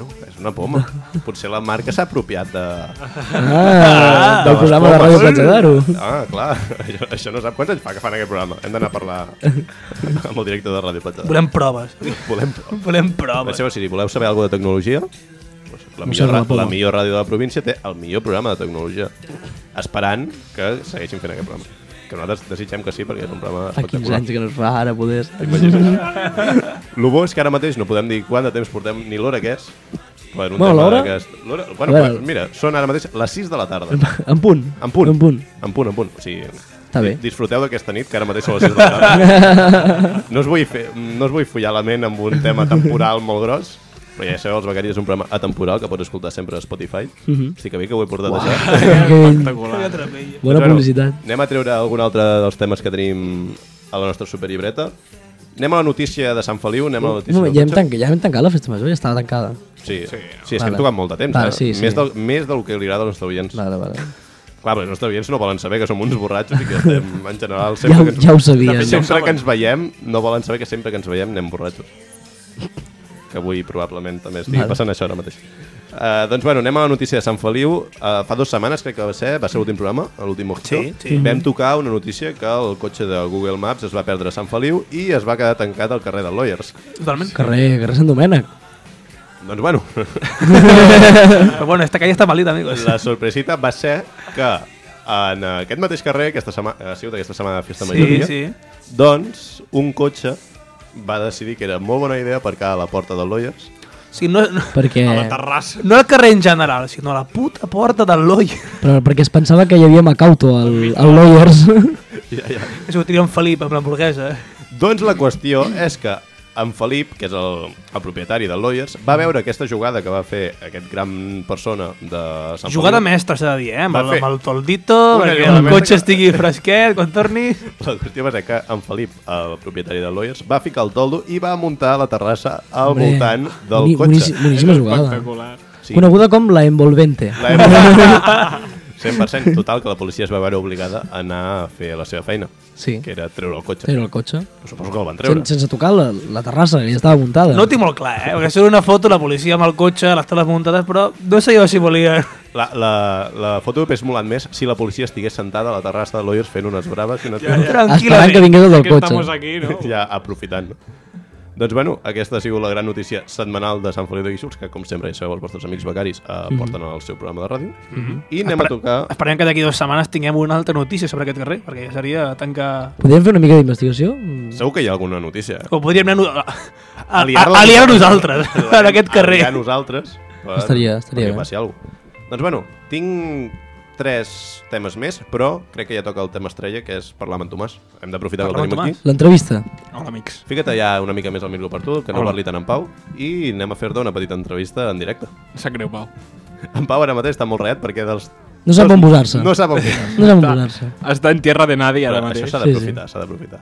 S1: No, és una poma. Potser la marca s'ha apropiat de...
S2: Ah, del programa de Ràdio Platja d'Aro.
S1: Ah, clar. Això, això no sap quants anys fa que fan aquest programa. Hem d'anar a parlar amb el director de Ràdio Platja d'Aro.
S3: Volem proves.
S1: Volem...
S3: Volem proves.
S1: Penseu, si voleu saber alguna cosa de tecnologia, doncs la
S2: Mossega
S1: millor,
S2: la
S1: ra-
S2: poma.
S1: la millor ràdio de la província té el millor programa de tecnologia. Esperant que segueixin fent aquest programa. Que nosaltres desitgem que sí, perquè és un programa
S2: Fa 15
S1: espectacular.
S2: anys que no es fa, ara poder...
S1: El bo és que ara mateix no podem dir quant de temps portem ni l'hora que és. Per un
S2: Bueno,
S1: tema
S2: l'hora-
S1: d'aquest- l'hora- Bueno,
S2: Bueno.
S1: bueno, mira, són ara mateix les 6 de la tarda.
S2: En punt.
S1: En punt.
S2: En punt.
S1: En punt, en punt. O sigui,
S2: Està bé.
S1: di- Disfruteu d'aquesta nit, que ara mateix són les 6 de la tarda. no, us vull fer, no us vull follar la ment amb un tema temporal molt gros, però ja sabeu, els Becaris és un programa atemporal que pots escoltar sempre a Spotify. Mm
S2: Mhm.
S1: -hmm. Estic a bé que ho he portat això.
S2: Aquell... Bona
S1: Bueno,
S2: publicitat.
S1: Anem a treure algun altre dels temes que tenim a la nostra superlibreta. Anem a la notícia de Sant Feliu, anem a la notícia
S2: Un moment,
S1: del
S2: ja hem,
S1: cotxe.
S2: tancat, ja hem tancat la festa major, ja estava tancada.
S1: Sí, sí, sí és que
S2: Vale.
S1: hem tocat molt de temps,
S2: Vale,
S1: eh?
S2: sí, sí.
S1: Més, del, més del que li agrada als nostres oients.
S2: Vale, vale.
S1: Clar, però els nostres oients no volen saber que som uns borratxos i que estem, en general,
S2: Ja, ho-
S1: sempre que ens...
S2: ja ho sabien.
S1: De fet, sempre que ens veiem, no volen saber que sempre que ens veiem anem borratxos. Que avui probablement també estigui
S2: Vale.
S1: passant això ara mateix. Uh, doncs bueno, anem a la notícia de Sant Feliu. Uh, fa dues setmanes crec que va ser, va ser l'últim programa, l'últim mojito.
S3: Sí,
S2: Mhm.
S3: sí.
S1: Vam tocar una notícia que el cotxe de Google Maps es va perdre a Sant Feliu i es va quedar tancat al carrer de Lawyers.
S3: Totalment.
S2: Carrer, carrer Sant Domènec.
S1: Doncs bueno,
S3: Però bueno, esta calle está malita, amigos.
S1: la sorpresita va ser que en aquest mateix carrer, aquesta setmana, ha sigut aquesta setmana de festa
S3: Sí,
S1: majoria,
S3: sí.
S1: Doncs un cotxe va decidir que era molt bona idea aparcar a la porta del Lawyers.
S3: O sigui, no, no,
S2: Perquè,
S4: Terrassa.
S3: no al carrer en general, sinó a la puta porta del Loi.
S2: però perquè es pensava que hi havia Macauto al, al Lawyers.
S1: Ja, ja.
S3: És un tio en eh? Felip amb l'hamburguesa.
S1: Doncs la qüestió és que en Felip, que és el, el propietari del Lawyers, va veure aquesta jugada que va fer aquest gran persona de Sant
S3: Jugada
S1: Feliu.
S3: mestra, s'ha de dir, eh? Amb,
S1: Va
S3: el,
S1: fer
S3: amb el toldito,
S1: una
S3: perquè
S1: jugada
S3: el
S1: mestra
S3: cotxe
S1: que-
S3: estigui fresquet quan torni.
S1: La qüestió va ser que en Felip, el propietari del Lawyers, va ficar el toldo i va muntar la terrassa al
S2: Hombre,
S1: voltant del
S2: boni-
S1: cotxe.
S2: boníssim- Boníssima jugada.
S4: Espectacular.
S1: Sí.
S2: Coneguda com la envolvente.
S1: La hem- 100% total que la policia es va veure obligada a anar a fer la seva feina,
S2: Sí,
S1: que era treure el cotxe.
S2: era el cotxe.
S1: Suposo que el van treure.
S2: Sen, sense tocar la, la terrassa, que ja estava muntada.
S3: No ho tinc molt clar, eh? Perquè surt una foto, la policia amb el cotxe, les teles muntades, però no sé jo si volia...
S1: La, la, la foto hauria molat més si la policia estigués sentada a la terrassa de Lawyers fent unes braves i unes ja, ja.
S2: Esperant que
S3: Tranquil·lament.
S2: vingués el del
S4: Que estamos
S2: cotxe.
S4: aquí, no?
S1: ja aprofitant. Doncs bueno, aquesta ha sigut la gran notícia setmanal de Sant Feliu de Guíxols, que com sempre ja sabeu els vostres amics becaris eh,
S2: Mhm.
S1: porten al seu programa de ràdio. I anem a tocar...
S3: Esperem que d'aquí dues setmanes tinguem una altra notícia sobre aquest carrer, perquè ja seria tancar...
S2: Podríem fer una mica d'investigació? Mm,
S1: Segur que hi ha alguna notícia. eh?
S3: O podríem anar a, a, a,
S1: Aliar-la-
S3: a liar nosaltres en aquest carrer.
S1: Aliar nosaltres. Per,
S2: Estaria- estaria
S1: perquè
S2: bé.
S1: passi alguna cosa. Doncs bueno, tinc tres temes més, però crec que ja toca el tema estrella, que és parlar amb en Tomàs. Hem d'aprofitar que el
S3: Parlar amb
S1: tenim aquí.
S3: Tomàs.
S2: L'entrevista.
S4: Hola, amics.
S1: Fica't allà una mica més al micro per tu, que no
S4: Hola.
S1: parli tant en Pau, i anem a fer-te una petita entrevista en directe.
S4: Em sap greu, Pau.
S1: En Pau ara mateix està molt reat perquè dels...
S2: No sap on posar-se.
S1: No sap on posar-se.
S2: No sap on posar-se.
S4: Està en tierra de nadie
S1: Però
S4: ara
S1: Això
S4: mateix.
S1: s'ha
S2: Sí,
S1: d'aprofitar, s'ha d'aprofitar.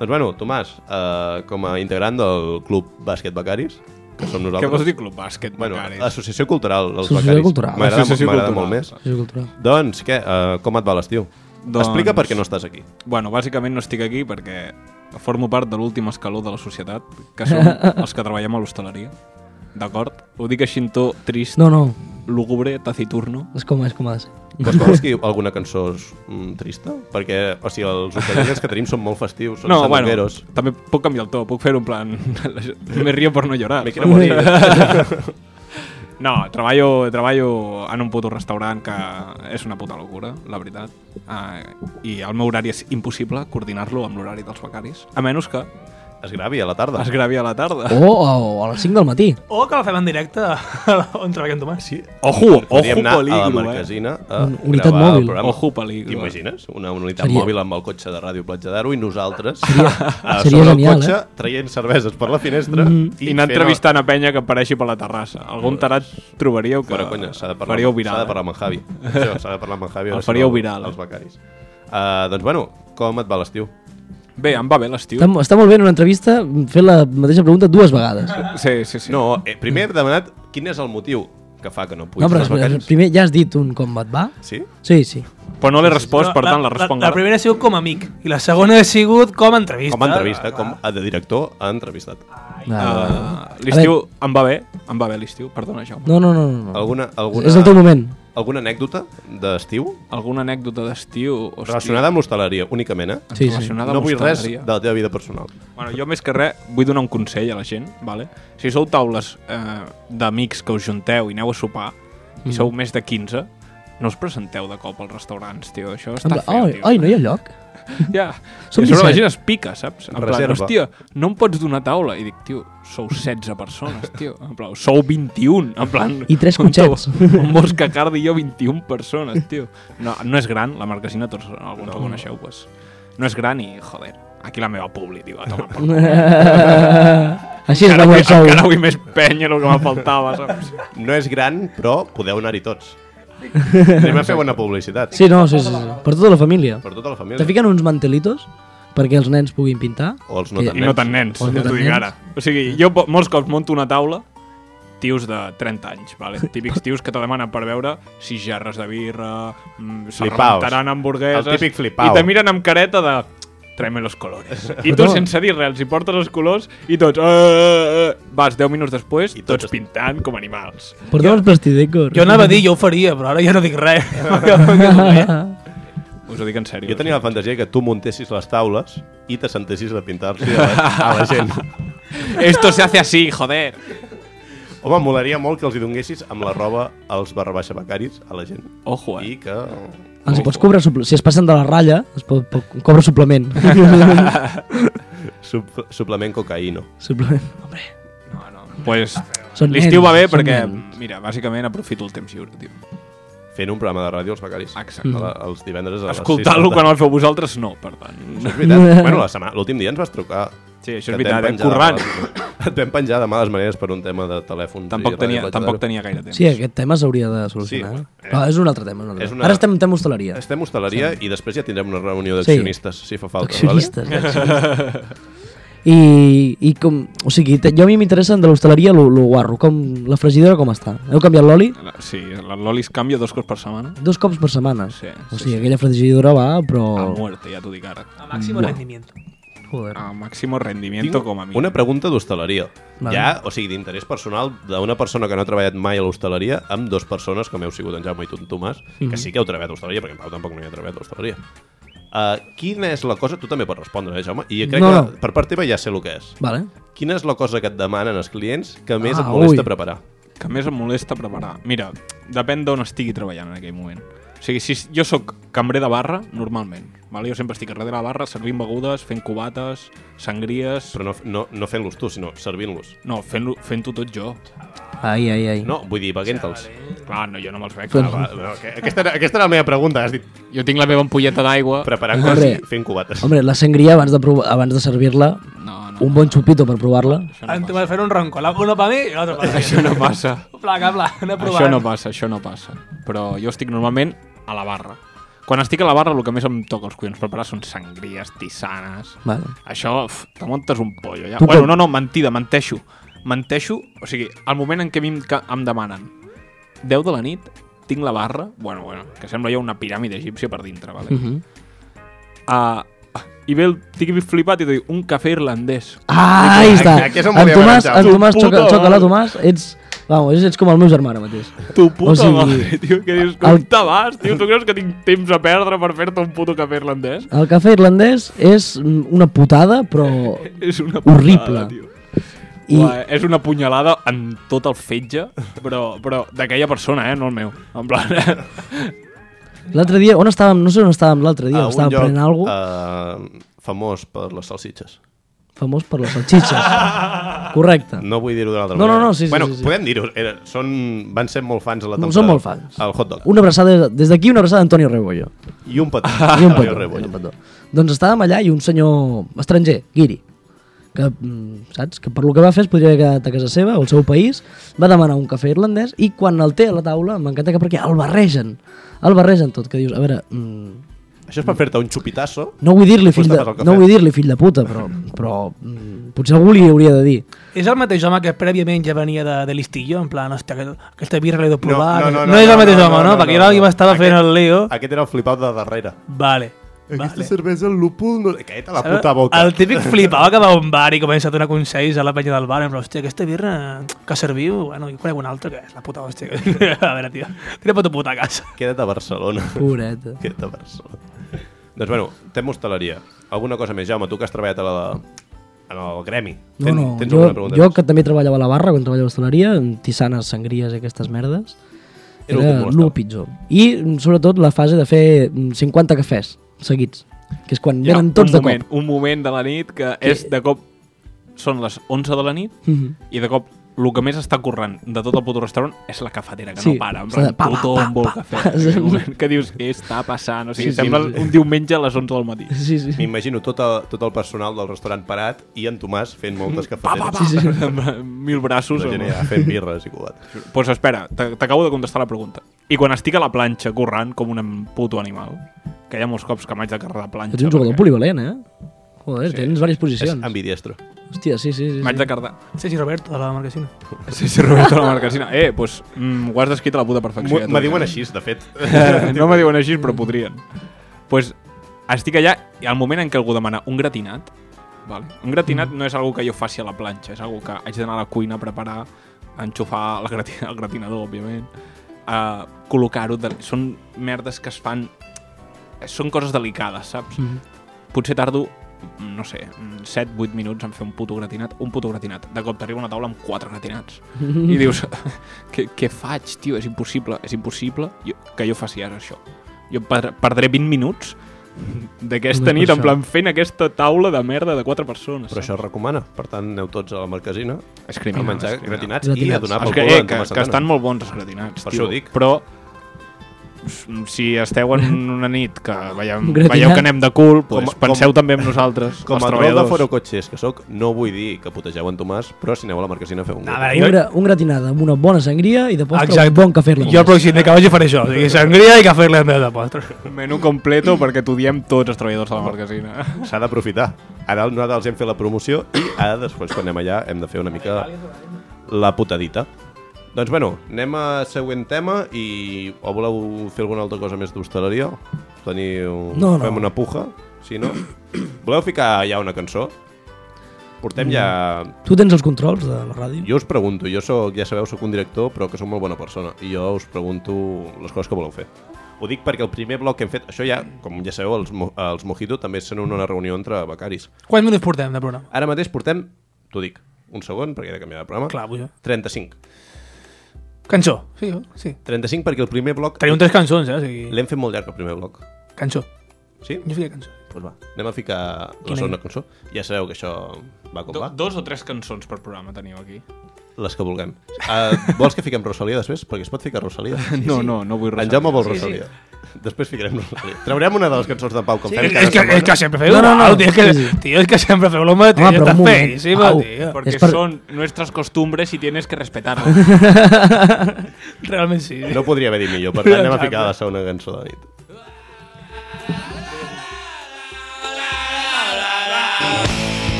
S1: Doncs bueno, Tomàs, eh, com a integrant del Club Bàsquet Becaris, que som nosaltres...
S4: Què vols dir club bàsquet?
S1: Bueno,
S4: becaris?
S1: Associació Cultural dels
S2: Associació
S1: Becaris.
S2: Cultural.
S1: M'agrada
S4: Associació
S1: m'agrada
S4: Cultural.
S1: molt més.
S2: Això és cultural.
S1: Doncs què, eh, com et va l'estiu?
S4: Doncs-
S1: Explica per què no estàs aquí.
S4: Bueno, bàsicament no estic aquí perquè formo part de l'últim escaló de la societat, que són els que treballem a l'hostaleria. D'acord? Ho dic així en to trist,
S2: No, no,
S4: lúgubre, taciturno.
S2: és com, és com ha de ser.
S1: Kostovski, alguna cançó mm, trista? Perquè, o sigui, els ucranians que tenim són molt festius, són
S4: no, bueno,
S1: sangongueros.
S4: també puc canviar el to, puc fer un plan... Me río por no llorar.
S1: Me quiero morir.
S4: No, treballo, treballo en un puto restaurant que és una puta locura, la veritat. Uh, I el meu horari és impossible coordinar-lo amb l'horari dels becaris, a menys que
S1: Es gravi a la tarda.
S4: es gravi a la
S1: Oh,
S4: tarda.
S2: O, o Oh, a les 5 del matí.
S3: O que la fem en directe a la- on treballa en Tomàs. Sí.
S4: Ojo, ojo
S1: Podríem anar a la
S4: peligro, eh?
S1: marquesina a
S2: Un- unitat
S1: gravar el
S2: mòbil.
S1: programa.
S4: Ojo peligro.
S1: T'imagines? Una unitat
S2: Seria-
S1: mòbil amb el cotxe de Ràdio Platja d'Aro i nosaltres seria,
S2: seria
S1: sobre
S2: genial, eh? Mm.
S1: el cotxe traient cerveses per la finestra
S4: I anar entrevistant a penya que apareixi per la terrassa. Algun tarat trobaríeu que
S1: Però, conya, s'ha de parlar,
S4: faríeu
S1: s'ha
S4: viral. eh?
S1: de parlar amb en Javi. Això, S'ha de parlar amb en Javi. a
S4: El
S1: veure si
S4: faríeu
S1: no-
S4: viral.
S1: Els becaris. Uh, doncs, bueno, com et va l'estiu?
S4: eh? Bé, em va bé l'estiu.
S2: Està, està molt bé en una entrevista fer la mateixa pregunta dues vegades.
S4: Sí, sí, sí.
S1: No, eh, primer he demanat quin és el motiu que fa que no puguis
S2: No, però
S1: als becaris.
S2: primer ja has dit un com et va.
S1: Sí?
S2: Sí, sí.
S1: eh,
S4: Però no l'he respost, per tant la responc
S3: la, la
S4: ara.
S3: primera ha sigut com a amic i la segona ha sigut com a entrevista. Ah,
S1: Com a entrevista,
S3: Clar,
S1: com a de director a entrevistat.
S2: Ah,
S4: Ah, l'estiu em va bé, em va bé l'estiu, perdona Jaume.
S2: no, no, no. no, no.
S1: Alguna, alguna,
S2: És el teu moment.
S1: alguna anècdota d'estiu
S4: Alguna anècdota d'estiu? hòstia,
S1: relacionada amb l'hostaleria, únicament, eh?
S2: Sí, sí.
S4: relacionada
S1: No
S4: amb
S1: vull res
S4: hostaleria.
S1: de la teva vida personal.
S4: Bueno, jo més que res vull donar un consell a la gent, vale? si sou taules eh, d'amics que us junteu i aneu a sopar,
S2: Mm.
S4: i sou més de 15, no us presenteu de cop als restaurants, tio, això està
S2: Amb-
S4: feo,
S2: Ai,
S4: tio.
S2: ai, no hi ha lloc.
S4: Ja.
S2: Som
S4: I a sobre la
S2: 17.
S4: gent es pica, saps? En plan,
S1: Reserva.
S4: hòstia, no em pots donar taula. I dic, tio, sou 16 persones, tio. En plan, sou 21, en plan...
S2: I tres
S4: on te-
S2: cotxets.
S4: On vols que cardi jo 21 persones, tio? No, no és gran, la marquesina, tots alguns no. la coneixeu, pues. No és gran i, joder, aquí la meva publi, tio, a tomar per cul.
S2: Així és
S4: Encara,
S2: la
S4: vull,
S2: web sou.
S4: encara vull més penya el que me faltava, saps?
S1: No és gran, però podeu anar-hi tots. Anem a fer bona publicitat.
S2: Sí, no, sí, sí, sí. Per tota la família.
S1: Per tota la
S2: Te
S1: família.
S2: fiquen uns mantelitos perquè els nens puguin pintar.
S1: O els no
S2: Que-
S1: tan
S4: I no tan nens,
S2: O no
S4: ja t'ho
S2: tan
S4: dic
S2: nens.
S4: ara. O sigui, jo po- molts cops monto una taula tios de 30 anys, vale? típics tios que te demanen per veure si jarres de birra, mm, se
S1: Flipaos.
S4: rebentaran hamburgueses...
S1: El típic flipao.
S4: I te miren amb careta de tráeme los colores. I tu,
S2: Però-
S4: sense dir res, els hi portes els colors i tots... "Eh, eh, eh". Vas, 10 minuts després,
S1: I
S4: I
S1: tots
S4: tots,
S1: es-
S4: tots pintant com animals.
S2: Porteu els plastidecos.
S3: Jo anava a dir, eh? jo ho faria, però ara ja no dic res. M'ha
S4: Us ho dic en sèrio.
S1: Jo tenia la fantasia que tu muntessis les taules i te sentessis a pintar-se a, la- a la gent.
S4: Esto se hace así, joder.
S1: Home, molaria molt que els hi donguessis amb la roba als barrabaixa becaris a la gent.
S4: Ojo, eh?
S1: I que...
S2: Els hi pots cobrar supl- Si es passen de la ratlla, es pot, pot cobra suplement.
S1: Sup suplement cocaïno.
S2: suplement. Hombre.
S4: No, no. Pues,
S2: Són
S4: L'estiu
S2: nens,
S4: va bé
S2: són
S4: perquè,
S2: nens.
S4: mira, bàsicament aprofito el temps lliure, tio.
S1: Fent un programa de ràdio als becaris.
S2: Mm.
S4: Exacte.
S1: A la, els divendres a les
S4: Escoltar-lo
S1: sis
S4: quan
S1: del
S4: el feu vosaltres, no, per tant.
S1: tarda. És veritat. bueno, la setmana- l'últim dia ens vas trucar.
S4: Sí, això
S1: Que
S4: és
S1: et vam
S4: veritat, eh?
S1: penjar de
S4: Currant.
S1: males- Et vam penjar de males maneres per un tema de telèfon.
S4: Tampoc tenia, tampoc tenia gaire temps.
S2: Sí, aquest tema s'hauria de solucionar.
S1: Sí,
S2: Sí, no, és un altre tema. És un altre
S1: és
S2: tema.
S1: una-
S2: Ara estem en tema hostaleria.
S1: Estem a hostaleria sí. i després ja tindrem una reunió
S2: Sí.
S1: d'accionistes, sí. si fa falta.
S2: Accionistes. I, I com... O sigui, te- jo a mi m'interessa de l'hostaleria lo, lo guarro. Com la fregidora com està? Heu canviat l'oli?
S4: Sí, l'oli es canvia dos cops per setmana.
S2: Dos cops per setmana.
S4: Sí, sí,
S2: o sigui,
S4: sí.
S2: aquella fregidora va, però...
S4: A
S1: Oh.
S4: muerte, ja t'ho dic ara.
S3: màxim rendimiento.
S2: Joder.
S4: A màximo rendimiento
S1: Tinc
S4: com a mi.
S1: una pregunta d'hostaleria.
S2: Vale.
S1: Ja, o sigui, d'interès personal d'una persona que no ha treballat mai a l'hostaleria amb dues persones, com heu sigut en Jaume i tu, en Tomàs, que
S2: Mhm.
S1: sí que heu treballat a l'hostaleria, perquè en Pau tampoc no hi ha treballat a l'hostaleria. Uh, quina és la cosa... Tu també pots respondre, eh, Jaume? I crec
S2: No,
S1: que
S2: no.
S1: per part teva ja sé el que és.
S2: Vale.
S1: Quina és la cosa que et demanen els clients que més
S2: Ah,
S1: et molesta
S2: ui.
S1: preparar?
S4: Que més em molesta preparar. Mira, depèn d'on estigui treballant en aquell moment. O sigui, si jo sóc cambrer de barra, normalment. Vale? Jo sempre estic darrere la barra, servint begudes, fent cubates, sangries...
S1: Però no, no, no fent-los tu, sinó servint-los.
S4: No, fent-ho fent tot jo.
S2: Ai, ai, ai.
S1: No, vull dir, beguent-te'ls.
S4: Clar, no, jo no me'ls veig.
S2: Però-
S4: clar, va.
S1: No, que- aquesta, era, aquesta era la meva pregunta. Has dit
S4: Jo tinc la meva ampolleta d'aigua...
S1: preparant
S2: Hombre.
S1: coses i fent cubates.
S2: Hombre, la sangria, abans de, provar- abans de servir-la,
S4: No, no,
S2: un bon xupito per provar-la.
S4: això
S3: Hem
S4: no
S3: de fer un ronco, la- una per mi i l'altra per mi.
S4: passa. Això no passa.
S3: Placa, placa, anar provant.
S4: Això no passa, això no passa. Però jo estic normalment a la barra. Quan estic a la barra, el que més em toca els collons preparar són sangries, tisanes...
S2: Vale.
S4: Això, uf, te montes un pollo, ja.
S2: Tu
S4: Bueno,
S2: com-
S4: no, no, mentida, menteixo. Menteixo, o sigui, al moment en què a mi em, ca- em demanen 10 de la nit, tinc la Mhm. barra, bueno, bueno, que sembla ja una piràmide egípcia per dintre, vale?
S2: Mhm.
S4: Uh, i ve el tiqui flipat i t'ho diu, un cafè irlandès.
S2: Ah, ahí está.
S8: Aquí és on
S2: en
S8: volia
S2: Tomàs,
S8: marxar.
S2: en
S8: Tu
S2: Tomàs,
S4: puta
S2: xoca, xoca la
S4: mare.
S2: Tomàs, ets... Vamos, ets com el meu germà ara mateix.
S4: Tu puta
S2: O sigui,
S4: madre, tio, que dius, com
S2: el-
S4: el... t'abast, tio, tu creus que tinc temps a perdre per fer-te un puto cafè irlandès?
S2: El cafè irlandès és mm, una putada, però...
S4: És una putada,
S2: Horrible.
S4: tio.
S2: I,
S4: Uà, és una punyalada en tot el fetge, però, però d'aquella persona, eh, no el meu. En plan,
S2: L'altre dia, on estàvem? No sé on estàvem l'altre dia,
S1: a un
S2: estàvem
S1: lloc
S2: prenent alguna cosa
S1: eh, famós per les salsitxes.
S2: famós per les salxitxes. Correcte.
S1: No vull dir-ho d'una altra
S2: No, no,
S1: manera.
S2: no, sí, sí,
S1: bueno,
S2: sí, sí.
S1: podem dir-ho. Era- són- Van ser molt fans a la
S2: No,
S1: temporada.
S2: són molt fans.
S1: El hot dog.
S2: Una abraçada, des d'aquí una abraçada a Antonio Rebollo.
S1: I un petó.
S2: I un
S1: Mario
S2: petó,
S1: Rebollo.
S2: i un petó. Doncs estàvem allà i un senyor estranger, guiri, que, mm, saps, que per lo que va fer es podria haver quedat a casa seva o al seu país, va demanar un cafè irlandès i quan el té a la taula, m'encanta que perquè el barregen, el barregen tot, que dius, a veure, mm,
S1: Això és per fer-te un xupitasso.
S2: no vull dir-li
S1: Després
S2: fill, de,
S1: tapes el cafè.
S2: no vull dir fill de puta, però, però mm, potser algú li hauria de dir.
S3: És el mateix home que prèviament ja venia de, de l'Istillo, en plan, hòstia, que, aquesta birra l'he de provar...
S1: no, no, no,
S3: no, és
S1: no,
S3: el mateix
S1: no,
S3: home,
S1: no,
S3: no?
S1: no,
S3: Perquè
S1: no,
S3: jo no,
S1: no.
S3: estava fent
S1: Aquest-
S3: el Leo...
S1: Aquest era el flipat de darrere.
S3: Vale.
S1: Aquesta
S3: vale.
S1: cervesa el lúpul... No... Aquest a la
S3: Saps?
S1: puta boca.
S3: El típic flipava que va a un bar i comença a donar consells a la penya del bar. En plan, hòstia, aquesta birra que serviu... Bueno, jo conec una altra que és la puta hòstia. a veure, tio, tira per tu puta a casa.
S1: Queda't a Barcelona.
S2: Pobreta.
S1: Queda't a Barcelona. doncs bueno, tema hostaleria. Alguna cosa més, Jaume, tu que has treballat a la, en el gremi.
S2: No, no,
S1: tens
S2: jo,
S1: alguna pregunta?
S2: jo
S1: més?
S2: que també treballava a la barra, quan treballava a l'hostaleria, amb tisanes, sangries i aquestes merdes,
S1: Era
S2: era,
S1: el que
S2: era
S1: molestava.
S2: el pitjor. I, mm, sobretot, la fase de fer mm, 50 cafès seguits, que és quan
S4: hi ha
S2: venen tots
S4: un
S2: de
S4: moment,
S2: cop.
S4: un moment de la nit que és de cop... Són les 11 de la nit
S2: Mhm.
S4: i de cop el que més està corrent de tot el puto restaurant és la cafetera, que
S2: Sí,
S4: no para. En
S2: està de
S4: plan,
S2: pa, pa,
S4: tothom
S2: pa,
S4: vol
S2: pa,
S4: cafè.
S2: pa.
S4: en aquell moment que dius, què està passant? O sigui,
S2: Sí, sí,
S4: sembla
S2: sí.
S4: un diumenge a les 11 del matí.
S2: Sí, sí.
S1: M'imagino tot, el- tot el personal del restaurant parat i en Tomàs fent moltes
S2: Mm,
S4: Pa, pa,
S1: cafeteres.
S4: pa, amb mil braços.
S1: La gent
S4: amb-
S1: ja fent birres i cubat.
S4: Doncs pues espera, t'a- t'acabo de contestar la pregunta. I quan estic a la planxa corrent com un puto animal, que hi ha molts cops que m'haig de carregar de planxa...
S2: Ets un jugador
S4: perquè
S2: polivalent, eh? Joder, tens diverses
S1: És
S2: posicions.
S1: ambidiestro.
S2: Hòstia, sí, sí. sí,
S4: M'haig de
S2: sí.
S4: carregar...
S3: Sergi Roberto, de la marquesina.
S4: Sí, sí, Roberto la Marquesina. Eh, doncs mm, ho has descrit a la puta perfecció.
S1: M'ho-
S4: eh,
S1: Me
S4: tu,
S1: diuen
S4: eh?
S1: així, de fet.
S4: Eh, no me diuen així, però podrien. Doncs pues, estic allà i al moment en què algú demana un gratinat, vale? un gratinat no és algo que jo faci a la planxa, és algo que haig d'anar a la cuina a preparar, a enxufar el, gratin el gratinador, òbviament, a col·locar-ho... De... Són merdes que es fan... Són coses delicades, saps? Mm -hmm. Potser tardo no sé, 7-8 minuts en fer un puto gratinat, un puto gratinat. De cop t'arriba una taula amb quatre gratinats. I dius, què, què faig, tio? És impossible, és impossible jo, que jo faci ara això. Jo per, perdré 20 minuts
S2: Només
S4: d'aquesta nit,
S2: per
S4: en
S2: això.
S4: plan, fent aquesta taula de merda de quatre persones.
S1: Però això es recomana. Per tant, aneu tots a la marquesina
S4: és
S1: a
S4: criminal.
S1: menjar
S4: és criminal.
S1: gratinats i a
S2: Gratinats.
S1: donar
S4: Els
S1: pel
S4: que,
S1: cul
S4: eh,
S1: Ah, en
S4: que,
S1: Tomàs
S4: que
S1: Santana.
S4: estan molt bons els gratinats,
S1: Per
S4: tio.
S1: això ho dic.
S4: Però s- si esteu en una nit que veieu,
S2: Un gratinat.
S4: veieu que anem de cul, pues,
S1: com-
S4: penseu també en nosaltres,
S1: Com
S4: els
S1: a troll de
S4: treballadors.
S1: Foro Cotxes que sóc, no vull dir que putegeu en Tomàs, però si aneu a la marquesina feu un
S3: A
S1: gol.
S3: veure,
S2: Un,
S3: jo,
S2: gra, un gratinada amb una bona sangria i de postre
S3: Exacte.
S2: un bon cafè irlandès.
S3: jo el pròxim dia que vaig faré això. O sigui, sangria i cafè irlandès de postre.
S4: Menú completo perquè t'odiem tots els treballadors de la marquesina.
S1: S'ha d'aprofitar. Ara nosaltres els hem fet la promoció i ara després quan anem allà hem de fer una mica la putadita. Doncs bueno, anem a següent tema i o voleu fer alguna altra cosa més d'hostaleria? Teniu...
S2: No, no.
S1: Fem una puja? Si no? Voleu ficar ja una cançó? Portem ja
S2: Tu tens els controls de la ràdio?
S1: Jo us pregunto, jo sóc, ja sabeu, sóc un director, però que sóc molt bona persona, i jo us pregunto les coses que voleu fer. Ho dic perquè el primer bloc que hem fet, això ja, com ja sabeu, els, mo- els Mojito també són una reunió entre becaris.
S3: Quants minuts portem de programa?
S1: Ara mateix portem, t'ho dic, un segon, perquè he de canviar de programa,
S3: Clar, vull jo.
S1: 35.
S3: Cançó. Sí, jo, sí.
S1: 35 perquè el primer bloc...
S3: Tenim tres cançons, eh? O sigui,
S1: L'hem fet molt llarg, el primer bloc.
S3: cançó.
S1: Sí?
S3: Jo fiqué cançó.
S1: Doncs va, anem a ficar la
S3: Quina
S1: segona cançó. Ja sabeu que això va com
S4: Do,
S1: va.
S4: dos o tres cançons per programa teniu aquí.
S1: Les que vulguem. Uh, vols que fiquem Rosalia després? Perquè es pot ficar Rosalia.
S4: No, no, no vull
S1: En Jaume vol
S3: Sí, sí.
S1: Rosalia. Després ficarem Rosalia. Traurem una de les cançons d'en Pau com fem
S3: És
S1: cada
S3: que, és
S1: setmana.
S3: que sempre feu
S2: No, no, no,
S3: igual, Tio, és que,
S2: sí, sí.
S3: tio, és que sempre feu lo mateix.
S2: Home,
S3: Home,
S2: però
S3: però
S2: un moment,
S3: feíssim,
S2: au.
S3: tio.
S4: Perquè
S2: És per-
S4: són nuestras costumbres i tienes que respetar-les.
S3: Realment sí.
S1: No podria haver dit millor, per tant anem a ficar la segona cançó de nit.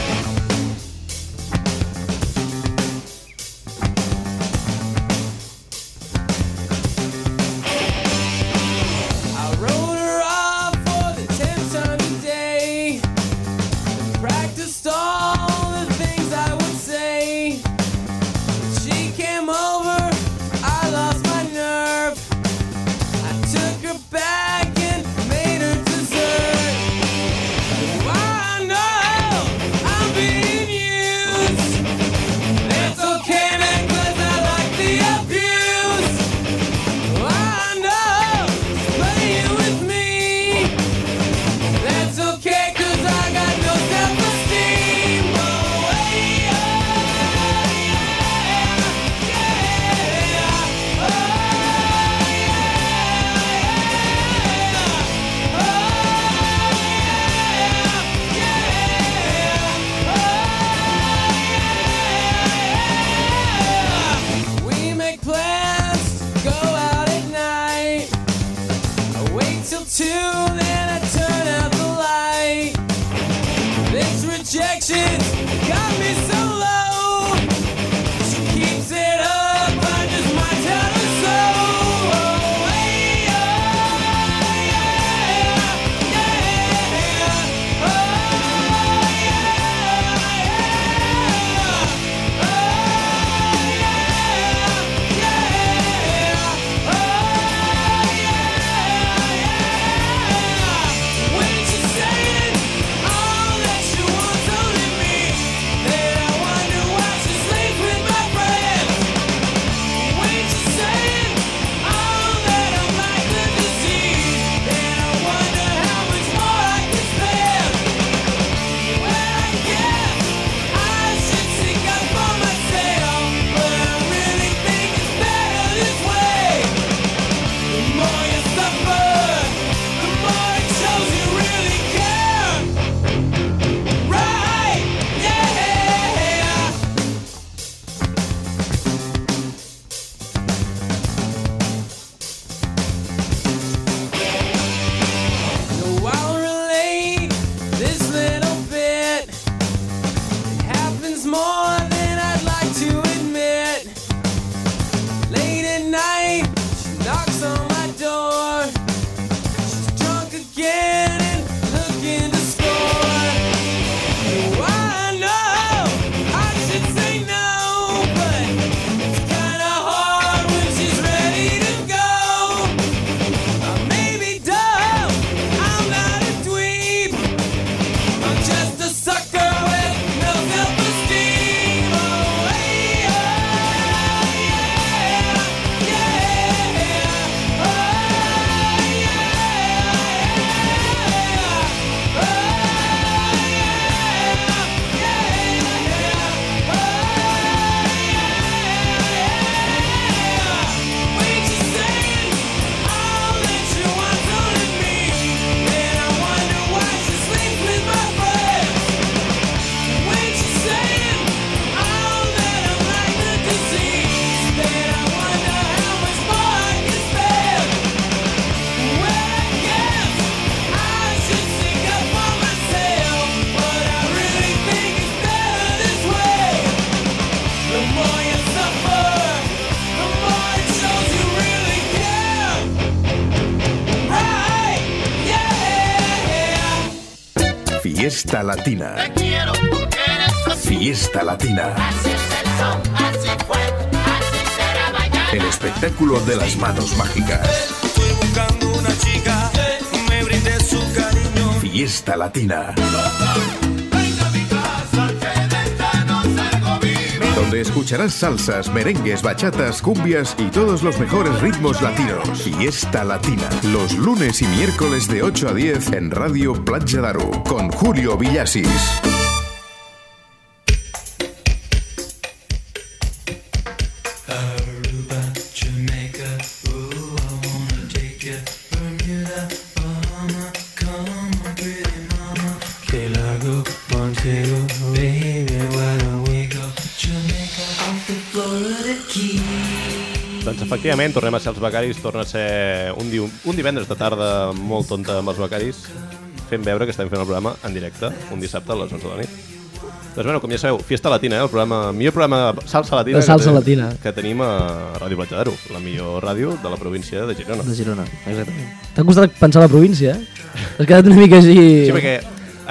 S5: Thank
S8: just all the things I would say. She came over, I lost my nerve. I took her back and made her dessert. I know I'm being used. It's okay, man, 'cause I like the abuse. I know she's playing with me. That's okay, cause I got no self esteem. Oh, hey, oh, yeah, yeah, oh, yeah, oh, yeah, yeah, oh, yeah. We make plans to go out at night. I wait till two, then I turn out the light. This rejection got me so low. She keeps it up, I just might tell her so. Oh, hey, oh, yeah, yeah, oh, yeah, yeah, oh. When she's saying all that she wants only me, then I wonder why she sleeps with my friend. When she's saying all that I'm like the disease, then I wonder how much more I can spend. Well, I guess I should seek out for myself, but I really think it's better this way. The more you suffer, the more it shows you really care. Right? Yeah. So I'll relate this little bit. It happens more than I'd like to admit. Late at night, she knocks on my door. She's drunk again and looking to score. Oh, I know I should say no, but it's kinda hard when she's ready to go. I may be dumb, I'm not a dweeb. I'm just a sucker with no self-esteem. Oh, hey, oh, yeah, yeah, oh, yeah, When she's saying all that she wants only me, then I wonder why she sleeps with my friends. When she's saying all that I'm like the disease, then I wonder how much more I can spend. Well, I guess I should stick up for myself, but I really think it's better this way. The more you suffer, the more it shows you really care. Right? Yeah.
S9: Fiesta Latina. Fiesta Latina. El espectáculo de las manos mágicas.
S6: Estoy buscando una chica que me brinde su cariño.
S9: Fiesta Latina. Donde escucharás salsas, merengues, bachatas, cumbias y todos los mejores ritmos latinos. Fiesta Latina. Los lunes y miércoles de 8 a 10 en Radio Playa Daru. Con Julio Villasis.
S1: Doncs efectivament, tornem a ser els becaris, torna a ser un, diu, un divendres de tarda molt tonta amb els becaris, fent veure que estem fent el programa en directe, un dissabte a les 11 de la nit. Doncs bueno, com ja sabeu, Fiesta Latina, eh? el programa, millor programa de salsa latina,
S2: De salsa
S1: que,
S2: latina.
S1: que tenim a Ràdio Platja d'Aro, la millor ràdio de la província de Girona.
S2: De Girona, exactament. T'ha costat pensar la província, eh? Has quedat una mica així...
S1: Sí, perquè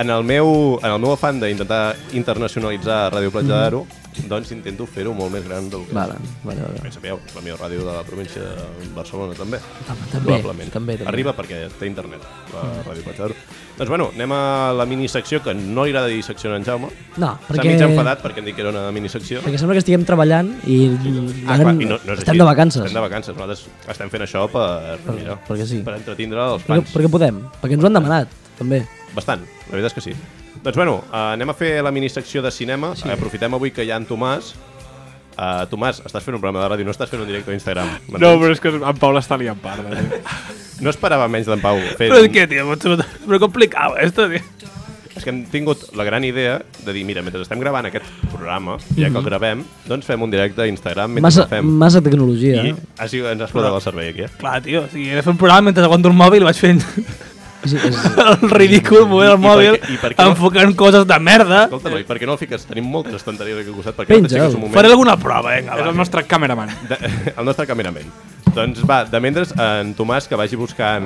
S1: en el meu, en el meu afán d'intentar internacionalitzar Ràdio Platja d'Aro, doncs intento fer-ho molt més gran del que
S2: Mm. Vale,
S1: és.
S2: vale, vale.
S1: Bé, sabeu, és la millor ràdio de la província de Barcelona, també.
S2: Tam- Ah, també,
S1: Probablement.
S2: també, també.
S1: Arriba perquè té internet, la ràdio Platja d'Aro. Doncs bueno, anem a la minissecció, que no li agrada dir secció a en Jaume.
S2: No,
S1: S'ha
S2: perquè...
S1: mig enfadat perquè han dit que era una minissecció.
S2: Perquè sembla que estiguem treballant i,
S1: Ah, clar, i no, no és
S2: estem
S1: així.
S2: de vacances.
S1: Estem de vacances. Nosaltres estem fent això per, per, mira,
S2: perquè sí.
S1: per entretindre els
S2: perquè,
S1: fans.
S2: perquè podem, perquè ens ho han demanat, també.
S1: Bastant, la veritat és que sí. Doncs bueno, eh, anem a fer la minissecció de cinema. Sí. Aprofitem avui que hi ha en Tomàs. Uh, Tomàs, estàs fent un programa de ràdio, no estàs fent un directe a Instagram.
S4: No, però és que en Pau l'està liant part. eh?
S1: no esperava menys d'en Pau. Fer...
S3: Pero es que, tío, mucho- pero complicado esto, tío.
S1: És que hem tingut la gran idea de dir, mira, mentre estem gravant aquest programa, ja
S2: Mhm.
S1: que el gravem, doncs fem un directe a Instagram mentre
S2: Massa,
S1: el fem.
S2: massa tecnologia.
S1: I
S2: eh?
S1: així ens has posat el servei aquí, eh?
S3: Clar, tio, o sigui, he de fer un programa mentre aguanto el mòbil vaig fent
S2: Sí, és,
S3: el ridícul movent
S1: I- i
S3: el mòbil,
S1: per què- i per què no?
S3: enfocant coses de merda.
S1: Escolta, noi, per què no el fiques? Tenim moltes estanteries aquí al costat. Per què no
S2: Penja'l.
S1: t'aixeques un moment?
S3: Faré alguna prova, vinga,
S4: És el
S3: va.
S4: nostre cameraman.
S1: de, el nostre cameraman. Doncs va, de mentres, en Tomàs que vagi buscant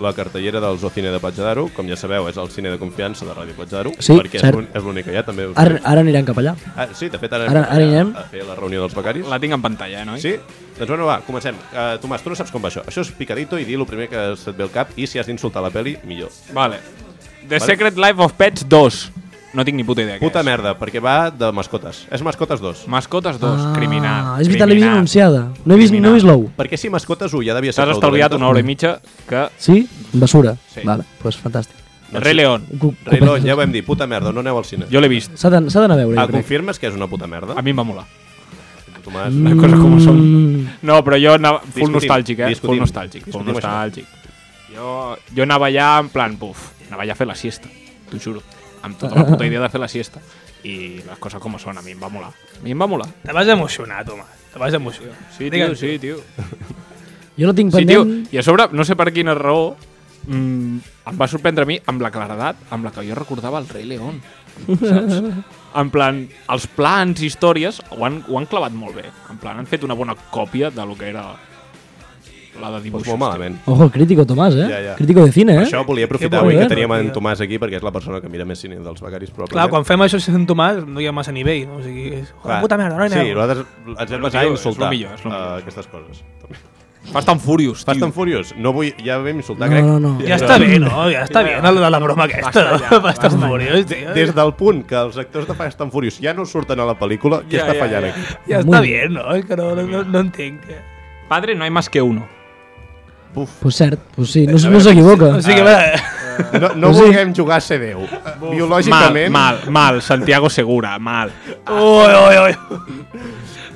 S1: la cartellera del Zoocine de Platja d'Aro, com ja sabeu, és el cine de confiança de Ràdio Platja d'Aro,
S2: Sí,
S1: perquè
S2: cert.
S1: és l'únic- és l'únic que hi ha, també. Us...
S2: ara, ara aniran cap allà.
S1: Ah, sí, de fet, ara,
S2: Ara- ara anirem.
S1: a fer la reunió dels becaris.
S4: La tinc en pantalla, eh, noi?
S1: Sí? Doncs bueno, va, comencem. Uh, Tomàs, tu no saps com va això. Això és picadito i dir el primer que se't ve al cap i si has d'insultar la peli, millor.
S4: Vale. The
S1: Vale.
S4: Secret Life of Pets 2. No tinc ni puta idea
S1: Puta
S4: què és.
S1: merda, perquè va de mascotes. És mascotes 2.
S4: Mascotes 2, ah, criminal.
S2: És veritat, l'he vist
S4: criminal.
S2: anunciada. No he vist, no
S4: Criminal.
S2: he vist l'ou.
S1: Perquè si mascotes 1 ja devia ser...
S4: S'has
S1: prou
S4: estalviat
S1: dolenta.
S4: una hora i mitja que...
S2: Sí? Basura.
S4: Sí.
S2: Vale, doncs pues fantàstic.
S1: Doncs
S4: Rei
S1: sí.
S4: León.
S2: Cu-
S1: Rei
S2: cu-
S1: León, ja ho vam dir, puta merda, no aneu al cine.
S4: Jo l'he vist.
S2: S'ha d'anar s'ha d'anar a veure,
S1: Ah,
S2: jo crec.
S1: confirmes que és una puta merda?
S4: A mi em va molar.
S1: Tomàs,
S4: Les coses com són.
S2: Mm,
S4: No, però jo anava... Full
S1: Discutim,
S4: nostàlgic, eh? Full
S1: discutim,
S4: nostàlgic. Full
S1: discutim això.
S4: nostàlgic. Jo, jo anava allà en plan, puf, anava allà a fer la siesta, t'ho juro. Amb tota la puta idea de fer la siesta. I les coses com són, a mi em va molar. A mi em va molar.
S3: Te vas emocionar, home. Te vas emocionar.
S4: Sí, tio,
S3: Digue'm.
S4: sí, tio.
S2: jo la tinc
S4: Sí, tio,
S2: pendent...
S4: i a sobre, no sé per quina raó, mm, em va sorprendre a mi amb la claredat amb la que jo recordava el rei León. Saps? En plan, els plans, històries, ho han, ho han clavat molt bé. En plan, han fet una bona còpia de lo que era la de
S1: Doncs
S4: dibuixos.
S1: molt malament.
S2: Ojo, crítico, Tomàs, eh?
S1: Ja, ja.
S2: Crítico de cine,
S1: Per
S2: eh?
S1: això volia aprofitar
S3: Que
S1: avui
S2: bo,
S1: que
S2: eh?
S1: teníem en
S3: Tia.
S1: Tomàs aquí, perquè és la persona que mira més cine dels becaris
S3: Clar,
S1: probablement.
S3: quan fem això si sent Tomàs no hi ha massa nivell, no? O sigui, és... Clar. puta merda, no hi
S1: Sí,
S3: aneu.
S1: nosaltres ens hem basat a
S4: millor,
S1: insultar
S4: és lo millor, és lo millor.
S1: eh, aquestes coses.
S4: malament. Fast and Furious, tio.
S1: Fast and Furious, no vull, ja vam insultar,
S2: No,
S1: crec.
S2: no, no.
S3: Ja està bé, no? Ja està bé, no, la, la broma aquesta.
S4: Basta
S3: Basta,
S4: ja,
S3: basta,
S4: basta.
S3: furiós, tio.
S1: Des del punt que els actors de Fast and Furious ja no surten a la pel·lícula, què
S4: Ja,
S1: està
S4: ja,
S1: fallant
S4: ja.
S1: aquí?
S3: Ja
S2: Molt
S3: està
S2: bé.
S3: bé, no? És que no, no, no, no entenc. tio.
S4: Padre, no hay más que uno.
S1: Buf.
S2: Pues cert, pues sí, no,
S1: a
S2: no
S1: veure,
S2: s'equivoca.
S3: O sigui, va...
S1: No, no
S2: Sí.
S1: vulguem jugar a ser Déu. Eh, Biològicament...
S4: Mal, mal, mal. Santiago Segura, mal.
S3: Ui, ui, ui.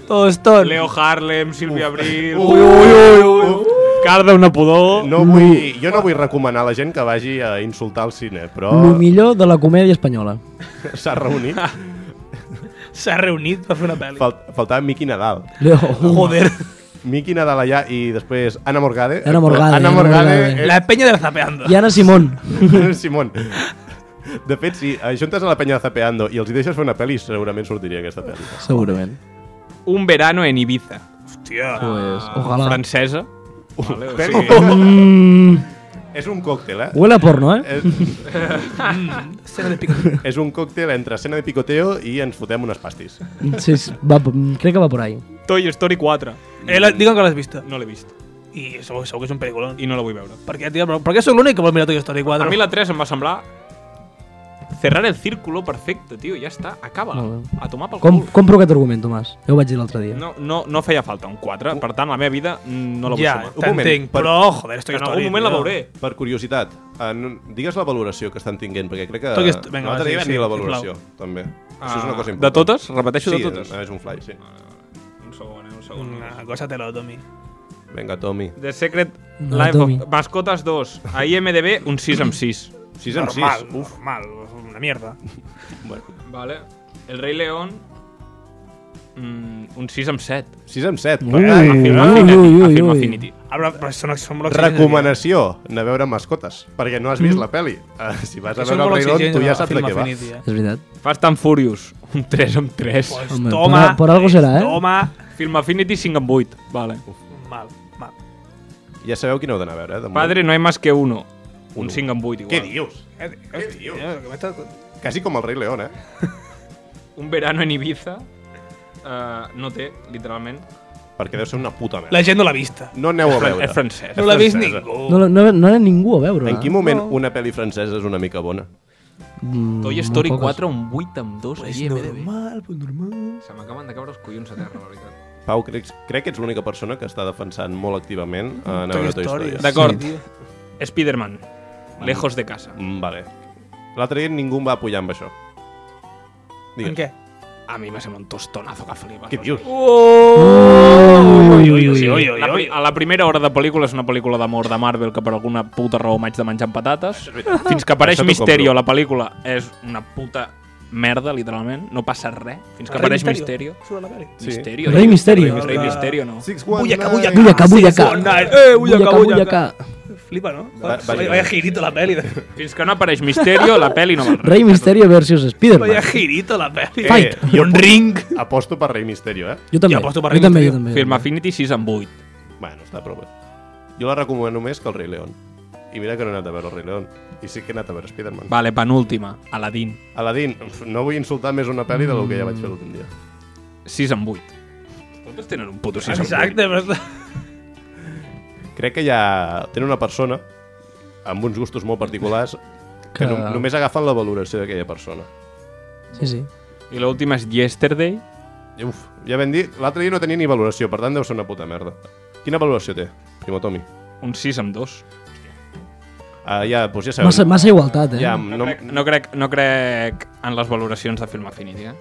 S3: Tostón.
S4: Leo Harlem, Silvia Abril...
S1: Ui, ui, ui, ui.
S4: Carda una pudor...
S1: No vull, jo no vull recomanar a la gent que vagi a insultar al cine, però
S2: Lo millor de la comèdia espanyola.
S1: s'ha reunit.
S3: S'ha reunit per fer una pel·li.
S1: Fal faltava Miqui Nadal.
S2: Leo.
S3: Joder.
S1: Miki Nadal allà i després Anna Morgade.
S2: Ana Morgade,
S1: Anna
S2: Ana
S1: Morgade.
S2: Morgade.
S3: La penya del zapeando.
S2: I Anna Simón.
S1: eh, Simón. De fet, si ajuntes a la penya de Zapeando i els hi deixes fer una pel·li, segurament sortiria aquesta pel·li.
S2: Segurament.
S4: Un verano en Ibiza.
S3: Hòstia.
S2: Pues, ojalà.
S4: Francesa. Vale, o
S1: Pel·li-
S4: sigui,
S1: És un còctel, eh?
S2: Huele a porno, eh?
S1: És,
S3: Escena de picoteo.
S1: és un còctel entre escena de picoteo i ens fotem unes pastis.
S2: Sí, sí, va, crec que va por ahí.
S4: Toy Story 4.
S3: Eh, la, digue'm que l'has vista.
S4: No l'he vist.
S3: I segur, segur que és un pel·lículon.
S4: I no la vull veure.
S3: Per què, tio? Per què sóc l'únic que vol mirar pues Toy Story 4?
S4: A mi la 3 em va semblar... Cerrar el círculo perfecte, tio, ja està. Acaba.
S2: Molt bé.
S4: A tomar pel
S2: Com,
S4: cul.
S2: compro aquest argument, Tomàs. Ja ho vaig dir l'altre dia.
S4: No, no, no feia falta un 4, per tant, la meva vida mm, no la vull
S3: ja,
S4: sumar.
S1: Un moment,
S3: t'entenc,
S1: per-
S3: però, joder, Toy
S4: En
S3: Story...
S4: algun moment la
S3: tio.
S4: veuré.
S1: Per curiositat, en, digues la valoració que estan tinguent, perquè crec que...
S3: Tot aquest- vinga, va,
S1: L'altre
S3: sí,
S1: dia vam
S3: sí,
S1: dir la
S3: sisplau.
S1: valoració, també. Això és una cosa
S4: Ah,
S1: important.
S4: de totes? Repeteixo
S1: sí,
S4: de totes?
S1: és un fly, sí.
S4: Un segon, eh, un segon.
S3: Una cosa te la Tommy.
S1: Vinga, Tommy.
S4: The Secret
S2: No,
S4: Life
S2: Tommy.
S4: of... Mascotes 2. A IMDB, un 6 amb 6.
S1: 6 en 6.
S3: Normal, uf, mal, una mierda.
S4: Vale. El Rei León, mm, un 6 amb 7.
S1: 6 en 7.
S2: Ui,
S4: Afirma Affinity. Afirma Affinity.
S3: Ah, però, però són, són molt exigents,
S1: Recomanació, anar a veure mascotes, perquè no has vist la pel·li. Ah, si vas
S3: tio.
S1: a
S3: Són
S1: veure el
S3: molt
S1: Rei León,
S3: exigents,
S1: tu ja
S3: la
S1: saps de
S3: Film
S1: què va.
S3: Affinity, eh.
S2: És veritat.
S4: Fast and Furious, un 3 amb 3.
S3: Pues
S2: Home,
S3: toma,
S2: per- per algo
S3: pues
S2: serà, eh?
S3: Toma,
S4: Film Affinity 5 amb 8. Vale.
S3: mal, mal.
S1: Ja sabeu quin heu d'anar a veure, eh? de moment.
S4: Padre, no hay más que uno. Un 5 amb 8 igual.
S1: Què dius? Què dius? Quasi com el Rei León, eh?
S4: Un verano en Ibiza eh, no té, literalment.
S1: Perquè deu ser una puta merda.
S3: La gent no l'ha vista.
S1: No aneu a veure.
S4: És francès.
S3: No l'ha vist
S1: francesa.
S3: ningú.
S2: No, no, no era ningú a veure.
S1: En quin moment una pel·li francesa és una mica bona?
S4: Toy Story 4, un 8 amb 2 a IMDb.
S3: però normal.
S4: Se m'acaben de caure els collons a terra, la veritat.
S1: Pau, crec, crec que ets l'única persona que està defensant molt activament eh, anar a veure Toy Story.
S3: Story.
S4: D'acord. Spider-Man, lejos de casa.
S1: Mm, vale. L'altre dia ningú em va apoyar amb això.
S3: En què?
S4: A mi me sembla un tostonazo que flipa.
S1: Què dius?
S3: ¡Oh! Ui, ui, ui, ui, ui,
S4: La,
S3: ui.
S4: pri- a la primera hora de pel·lícula és una pel·lícula d'amor de Marvel que per alguna puta raó m'haig de menjar amb patates. Fins que apareix
S1: Això t'ho compro.
S4: Misterio a la pel·lícula és una puta merda, literalment. No passa res. Fins que apareix Misterio.
S3: Surt a la cara.
S1: Sí.
S4: Misterio.
S2: Rei Misterio.
S4: Rei Misterio, no.
S1: Six one nine.
S2: Vull acá, vull acá.
S3: Eh,
S2: Vull acá, vull acá.
S3: Flipa, no?
S1: Va- va-
S3: Vaya vaya girito la peli.
S4: Fins que no apareix Misterio, la pel·li no val res.
S2: Rei Misterio versus
S3: Vaya
S2: Spider-Man.
S3: girito la peli.
S2: Fight.
S1: jo
S3: Un
S1: apo-
S3: ring.
S1: Eh, Aposto per Rei Misterio, eh?
S2: Jo també.
S3: Jo aposto per
S2: Jo
S3: Rei
S2: també,
S3: Misterio.
S2: jo també.
S4: Film Affinity 6 amb 8.
S1: Bueno, està prou bé. Jo la recomano més que el Rei León. I mira que no he anat a veure el Rei León. I sí que he anat a veure Spider-Man.
S4: Vale, penúltima. Aladdin.
S1: Aladdin, uf, no vull insultar més una pel·li del que ja vaig fer l'últim dia.
S4: 6 amb 8. Totes tenen un puto 6 amb 8.
S3: Exacte, però... és-
S1: Crec que hi ha... Tenen una persona amb uns gustos molt particulars que,
S2: Que-
S1: no, només agafen la valoració d'aquella persona.
S2: Sí, sí.
S4: I l'última és Yesterday.
S1: I, Uf, ja vam dir, l'altre dia no tenia ni valoració, per tant deu ser una puta merda. Quina valoració té, Primotomi?
S4: Un 6 amb 2.
S1: Ah, ja, doncs ja sabeu.
S2: Massa, massa igualtat, eh?
S1: Ja, no,
S4: No, crec, no, crec, no crec en les valoracions de Film Affinity, eh?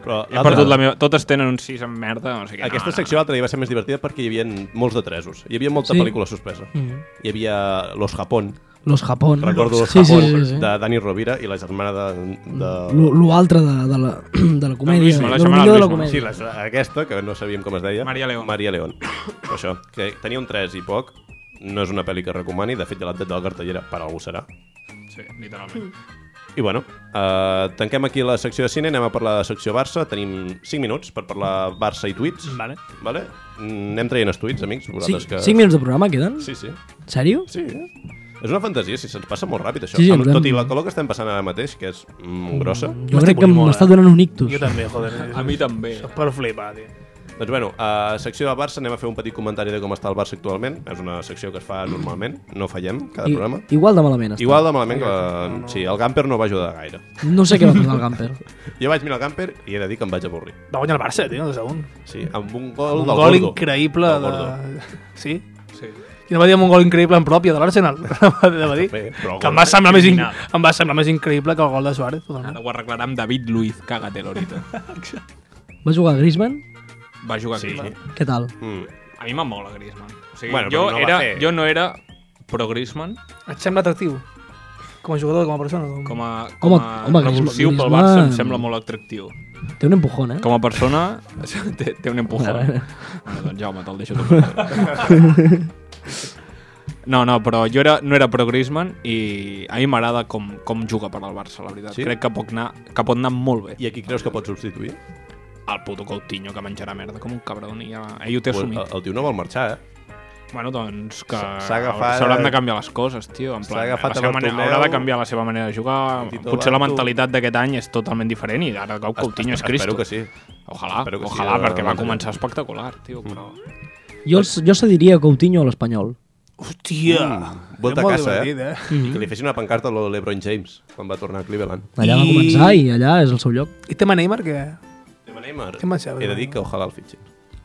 S1: però
S4: He perdut la meva... Totes tenen un 6 amb merda, o sigui,
S1: Aquesta
S4: no,
S1: secció l'altre dia va ser més divertida perquè hi havia molts de tresos. Hi havia molta
S2: Sí.
S1: pel·lícula sorpresa. Hi havia Los Japón,
S2: Mm. Los Japón.
S1: recordo Los
S2: sí,
S1: Japón,
S2: sí, sí, sí.
S1: de Dani Rovira i la germana de... de...
S2: Lo, lo altre de, de, la, de la comèdia.
S4: Luisma, la
S2: lo
S4: setmana
S2: millor de
S4: del
S2: la
S4: Luisma.
S1: Sí,
S2: comèdia.
S1: la, aquesta, que no sabíem com es deia.
S4: Maria León.
S1: Maria León. Això, que tenia un 3 i poc. No és una pel·li que recomani, de fet ja l'ha tret de la cartellera, per algú serà.
S4: no. Sí, literalment.
S1: I bueno, eh, tanquem aquí la secció de cine, anem a parlar de secció Barça. Tenim 5 minuts per parlar Barça i tuits.
S3: Vale.
S1: Vale? Mm, Anem traient els tuits, amics,
S2: Sí,
S1: vosaltres que...
S2: 5 minuts de programa queden?
S1: Sí, sí.
S2: En sèrio?
S1: Sí, eh? És una fantasia, si se'ns passa molt ràpid, això.
S2: Sí, sí,
S1: Amb-
S2: en plan-
S1: Tot i la calor que estem passant ara mateix, que és mm, grossa.
S2: Jo crec que
S3: molt,
S2: m'està
S3: eh?
S2: donant un ictus.
S3: Jo també, joder.
S4: A mi també. eh,
S3: Això és per flipar, tio.
S1: Doncs bueno, a secció de Barça anem a fer un petit comentari de com està el Barça actualment. És una secció que es fa normalment, no fallem cada
S2: I,
S1: programa.
S2: igual de malament està.
S1: Igual de malament que... La... Sí, el Gamper no va ajudar gaire.
S2: No sé què va passar al Gamper.
S1: Jo vaig mirar el Gamper i he de dir que em vaig avorrir.
S3: Va guanyar el Barça, tio, 2 a 1.
S1: Sí, amb un gol
S3: Un
S1: del
S3: gol
S1: Gordo.
S3: increïble
S1: Del
S3: de...
S1: Gordo.
S3: Sí?
S4: Sí.
S3: Quina va dir amb un gol increïble en pròpia de l'Arsenal? Va dir.
S1: Bé, però
S3: Que em
S1: gol.
S3: va, semblar més in...
S4: Criminal.
S3: em va semblar més increïble que el gol de Suárez. totalment.
S4: Ara ho arreglarà amb David Luiz, càgate, l'horita.
S2: Va jugar a Griezmann?
S4: Va jugar
S1: Sí.
S4: sí.
S2: Què tal?
S1: Mm.
S4: A mi m'ha mola Griezmann. O sigui,
S1: Bueno,
S4: bueno, jo,
S1: però no va
S4: no era,
S1: fer.
S4: jo no era pro Griezmann
S3: Et sembla atractiu? Com a jugador, com a persona?
S4: com a, com
S2: Home,
S4: a
S2: home,
S4: revulsiu pel
S2: Griezmann-
S4: Barça em sembla molt atractiu.
S2: Té un empujón, eh?
S4: Com a persona té, té un empujón.
S2: Ara.
S4: Bueno, doncs Jaume, te'l deixo tot. No, no, però jo era, no era pro Griezmann i a mi m'agrada com, com juga per al Barça, la veritat.
S1: Sí?
S4: Sí? Crec que pot, anar, que pot anar molt bé.
S1: I aquí creus que pot substituir?
S4: el puto Coutinho que menjarà merda com un cabron i ja, ell ho té
S1: El,
S4: assumit.
S1: el tio no vol marxar, eh?
S4: Bueno, doncs que
S1: S'ha- s'ha agafat-
S4: s'hauran de canviar les coses, tio. En
S1: S'ha
S4: plan,
S1: agafat
S4: la seva
S1: a
S4: manera,
S1: Bartomeu,
S4: haurà de canviar la seva manera de jugar.
S1: Tito
S4: Potser la
S1: Bartu.
S4: mentalitat d'aquest any és totalment diferent i ara el Coutinho és Cristo.
S1: Espero que sí.
S4: Ojalà,
S1: espero que sí, Mm.
S4: ojalà,
S1: eh,
S4: perquè va
S1: Valentí.
S4: començar espectacular, tio. Però...
S2: Jo, els- jo cediria a Coutinho a l'Espanyol.
S3: Hòstia!
S1: Volta
S3: És
S1: a
S3: molt
S1: Mm, casa,
S3: divertit,
S1: eh? I que
S4: Mhm.
S1: li fessin una pancarta a lo LeBron James quan va tornar a Cleveland.
S2: Allà va
S3: I-
S2: començar i allà és el seu lloc.
S3: I tema Neymar, que...
S1: Tema Neymar.
S3: Què m'has dit?
S1: He de dir que ojalà el fitxin.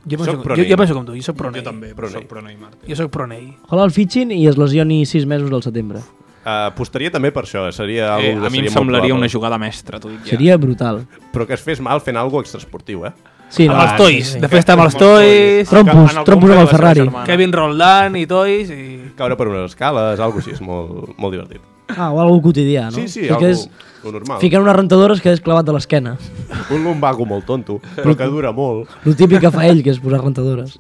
S3: Jo
S1: Soc
S3: penso,
S1: pro
S3: jo, jo
S1: Neymar.
S3: penso com tu, jo soc pro Ney.
S4: però soc pro Neymar.
S1: Eh,
S4: tio.
S3: Jo soc pro Ney.
S2: Ojalà el fitxin i es lesioni 6 mesos del setembre.
S1: Uh, apostaria també per això, eh? seria
S4: Eh,
S1: algo que
S4: a mi em
S1: seria molt
S4: semblaria
S1: probable.
S4: una jugada mestra, t'ho dic ja.
S2: Seria brutal.
S1: Però que es fes mal fent algo extraesportiu, eh?
S2: Sí,
S3: Amb els toys.
S2: sí, sí.
S3: De festa amb els toys,
S2: Trompos,
S4: En el
S2: trompos
S4: compte
S2: amb el
S4: de la seva
S2: Ferrari.
S4: germana.
S3: Kevin Roldán i toys i...
S1: Caure per unes escales, algo així, és molt, molt divertit.
S2: Ah, o algo quotidià, no?
S1: Sí, sí, algo,
S2: Fiques,
S1: lo normal.
S2: Fiquen unes rentadores que és clavat de l'esquena.
S1: Un lumbago molt tonto, però que dura molt.
S2: El típic que fa ell, que és posar rentadores.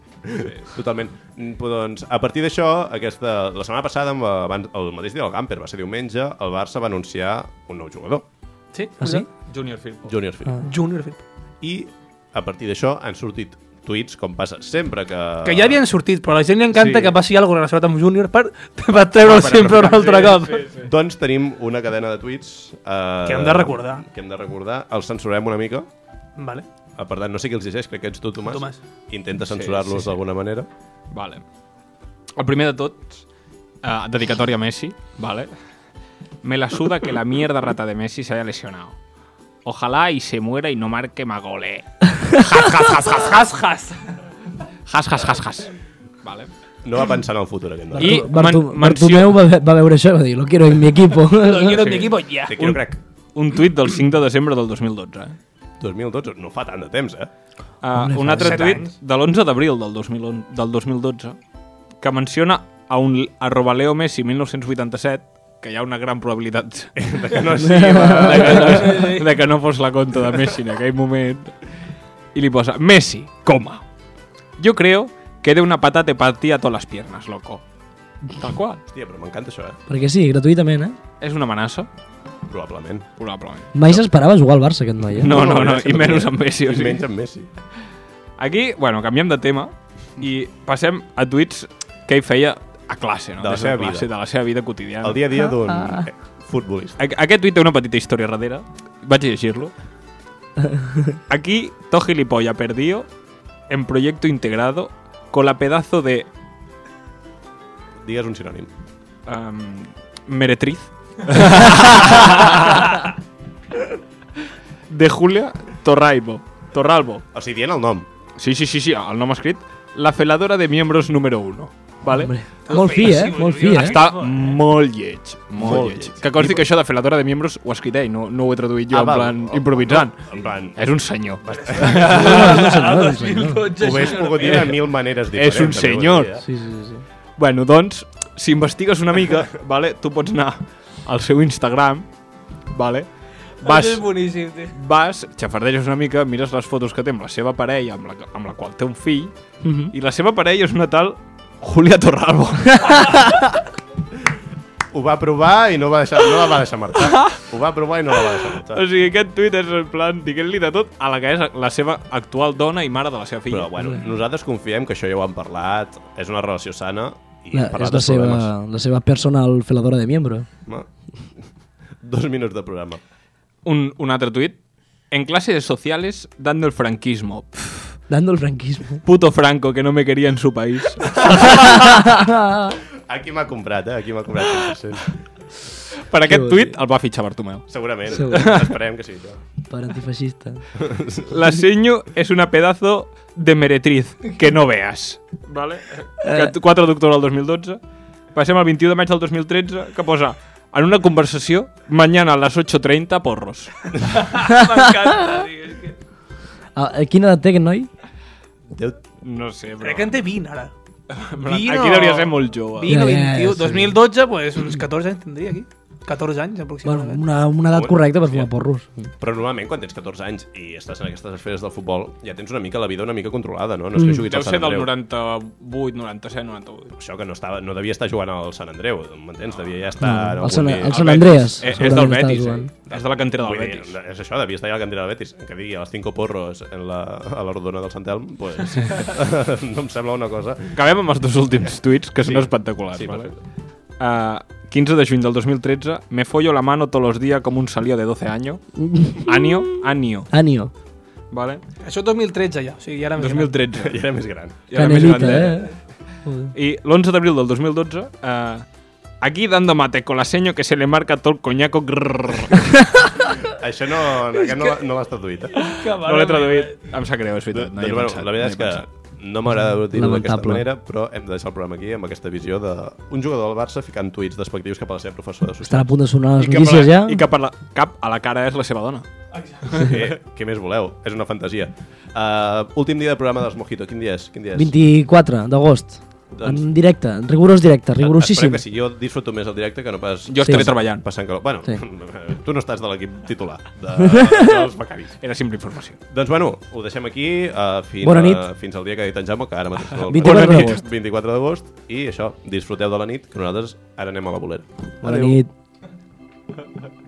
S1: Totalment. Mm, Però, doncs, a partir d'això, aquesta... la setmana passada, amb- abans, el mateix dia del Gamper, va ser diumenge, el Barça va anunciar un nou jugador,
S3: Sí?
S2: Ah, sí?
S4: Junior Firpo.
S1: Junior Firpo.
S3: Junior Fit.
S1: I a partir d'això han sortit tuits, com passa sempre que...
S3: Que ja havien sortit, però a la gent li encanta
S4: Sí.
S3: que passi alguna cosa relacionat amb Júnior per, per
S1: Ah,
S3: treure'l sempre un altre cop.
S1: Doncs tenim una cadena de tuits... Eh,
S3: Que hem de recordar.
S1: Que hem de recordar. Els censurem una mica.
S3: Vale.
S1: Eh, Per tant, no sé qui els llegeix, crec que ets tu, Tomàs.
S3: Tomàs.
S1: Intenta censurar-los d'alguna manera.
S4: Vale. El primer de tots, eh, dedicatoria a Messi, ¿vale? Me la suda que la mierda rata de Messi se haya lesionado. Ojalá y se muera y no marque eh. magole. Jas, jas, jas, jas, jas, jas. Jas, jas, jas, jas. Vale.
S1: No va pensar en el futur, aquest noi.
S4: I
S2: Bartu- Bartu-
S4: men- menció-
S2: Bartomeu va, ve- va veure això i va dir, lo quiero en mi equipo.
S3: Lo quiero en mi
S4: Sí.
S3: equipo ya.
S1: Te quiero
S4: un-
S1: crack.
S4: Un tuit del 5 de desembre del 2012. Eh?
S1: 2012, no fa tant de temps, eh?
S4: Uh, un altre
S3: set
S4: tuit
S3: anys.
S4: de l'11 d'abril del, 2011 del 2012 que menciona a un arroba Leo Messi 1987 que hi ha una gran probabilitat de que no, sigui, de que no, de que no fos la conta de Messi en aquell moment i li posa Messi, coma yo creo que de una pata te partía todas las piernas, loco tal qual,
S1: Hòstia, però m'encanta això, eh?
S2: Perquè sí, gratuïtament, eh?
S4: és una amenaça
S1: Probablement.
S4: probablement
S2: Mai s'esperava jugar al Barça, aquest noi, eh?
S4: no, no, no, i menys amb Messi o
S1: I
S4: sigui.
S1: menys amb Messi.
S4: Aquí, bueno, canviem de tema i passem a tuits que ell feia a classe, no?
S1: De la
S4: Des
S1: seva
S4: classe,
S1: vida.
S4: De la seva vida quotidiana.
S1: El dia a dia d'un eh, futbolista.
S4: Aqu- Aquest tuit té una petita història darrere. Vaig a llegir-lo. Aquí, to gilipolla perdido en proyecto integrado con la pedazo de
S1: Digues un sinònim.
S4: em, meretriz de Julia Torraibo. Torralbo.
S1: O sigui, dient el nom.
S4: Sí, sí, sí, sí, el nom escrit. La feladora de miembros número uno. Vale?
S2: Hombre, molt fi, eh? Molt fi, eh?
S4: Està molt lleig, molt,
S1: Molt
S4: lleig.
S1: lleig.
S4: Que consti que això de feladora de miembros ho ha escrit ell, no, no ho he traduït jo,
S1: Ah,
S4: en
S1: val.
S4: plan, improvisant.
S1: En plan,
S4: És un senyor.
S2: No, no, no,
S3: Ah,
S2: senyor, no, senyor.
S1: ho hauries pogut dir de mil maneres diferents.
S4: És un
S1: també eh? ho
S4: senyor.
S1: diria.
S2: Sí, sí, sí, sí.
S4: Bueno, doncs, si investigues una mica, vale, tu pots anar al seu Instagram, vale, vas,
S3: Això és boníssim, tio.
S4: vas, xafardeges una mica, mires les fotos que té amb la seva parella, amb la, amb la qual té un fill, i la seva parella és una tal Julia Torralbo.
S1: Ho va provar i no, va deixar, no la va deixar marxar. Ho va provar i no la va deixar marxar.
S4: o sigui, aquest tuit és en plan, diguent-li de tot a la que és la seva actual dona i mare de la seva filla.
S1: Però, bueno, nosaltres confiem que això ja ho han parlat, és una relació sana i
S2: La,
S1: han
S2: és
S1: parlat
S2: la
S1: dels
S2: seva,
S1: problemes.
S2: la seva personal feladora de miembro.
S1: No? Dos minuts de programa.
S4: Un, un altre tuit. En clase de sociales, dando el franquismo. Pff,
S2: Dando el franquismo.
S4: puto Franco, que no me quería en su país.
S1: Aquí m'ha comprat, eh? Aquí m'ha comprat 100%.
S4: per aquest
S2: vol
S4: tuit el va fitxar Bartomeu.
S1: Segurament.
S2: Segur.
S1: Esperem que sigui això.
S2: Per antifeixista.
S4: La seño es una pedazo de meretriz, que no veas. Vale?
S2: Eh.
S4: Que- 4 d'octubre del 2012. Passem al 21 de maig del 2013, que posa... En una conversació, mañana a las 8.30, porros.
S2: Ah, eh, quina edat té aquest noi?
S1: Déu,
S4: No sé, però...
S3: Crec que en té 20, ara.
S4: Aquí
S3: Vino-
S4: deuria ser molt jove.
S3: 20 o
S2: Ja, ja,
S3: 21.
S2: sí.
S3: 2012, pues, uns 14 anys tindria aquí. 14 anys,
S2: Bueno,
S3: aproximadament.
S2: una, una edat correcta per fumar porros.
S1: però normalment quan tens 14 anys i estàs en aquestes esferes del futbol ja tens una mica la vida una mica controlada, no? No és que juguis
S4: Mm, Deu
S1: al Sant
S4: ser del
S1: Andreu.
S4: 98, 97, 98.
S1: Això que no, estava, no devia estar jugant al Sant Andreu, m'entens? Devia ja estar... en
S2: El
S1: algun
S2: Mm, Sant,
S1: dia.
S2: el Sant Andreas.
S4: És, és del
S2: segurament estava
S4: Betis, eh?
S2: jugant.
S4: És de la cantera del
S1: Vull dir,
S4: Betis.
S1: és això, devia estar ja a la cantera del Betis, que digui a les 5 porros en la, a la rodona del Sant Elm, pues, no em sembla una cosa...
S4: Acabem amb els dos últims tuits, que són espectaculars.
S1: Sí,
S4: vale? Uh, 15 de juny del 2013, me follo la mano todos los días como un salío de 12 años. Año, año,
S2: Anio.
S4: ¿vale?
S3: Això 2013 ja, o sigui, ja era més gran.
S4: 2013.
S1: Ja era més gran.
S4: Ja era més
S2: Canelita,
S4: grandet.
S2: eh?
S4: I l'11 d'abril del 2012, uh, aquí dando mate con la seño que se le marca todo el coñaco. grrrr.
S1: Això no, aquest no, l'ha- no l'has traduït, eh?
S4: no l'he traduït. Em sap greu, és veritat. No hi he
S1: bueno,
S4: pensat,
S1: la
S4: no hi
S1: veritat
S4: he
S1: és que
S4: pensat.
S1: no m'agrada dir-ho d'aquesta
S2: Mm, Lamentable.
S1: manera, però hem de deixar el programa aquí amb aquesta visió d'un jugador del Barça ficant tuits despectius cap a la seva professora de
S2: Estan a
S1: societat.
S2: punt de sonar les
S4: I que, per
S2: notícies
S4: la,
S2: ja.
S4: I que per la, cap a la cara és la seva dona.
S1: Què, què més voleu? És una fantasia. Uh, últim dia de programa dels Mojito. Quin dia és? Quin dia és?
S2: 24 d'agost.
S1: Doncs-
S2: En directe, en rigorós directe, rigorosíssim.
S1: Esperem que sí. Jo disfruto més el directe que no pas...
S4: Jo
S2: Sí.
S4: estaré treballant.
S1: Passant calor. Bueno,
S2: Sí.
S1: tu no estàs de l'equip titular de, dels becaris.
S4: Era simple informació.
S1: Doncs bueno, ho deixem aquí uh, fins,
S2: Bona nit. Ah,
S1: A, fins al dia que ha dit en Jaume, que ara mateix... no el
S2: 24
S1: recordo.
S2: d'agost.
S1: 24 d'agost. I això, disfruteu de la nit, que nosaltres ara anem a la bolera.
S2: Bona nit.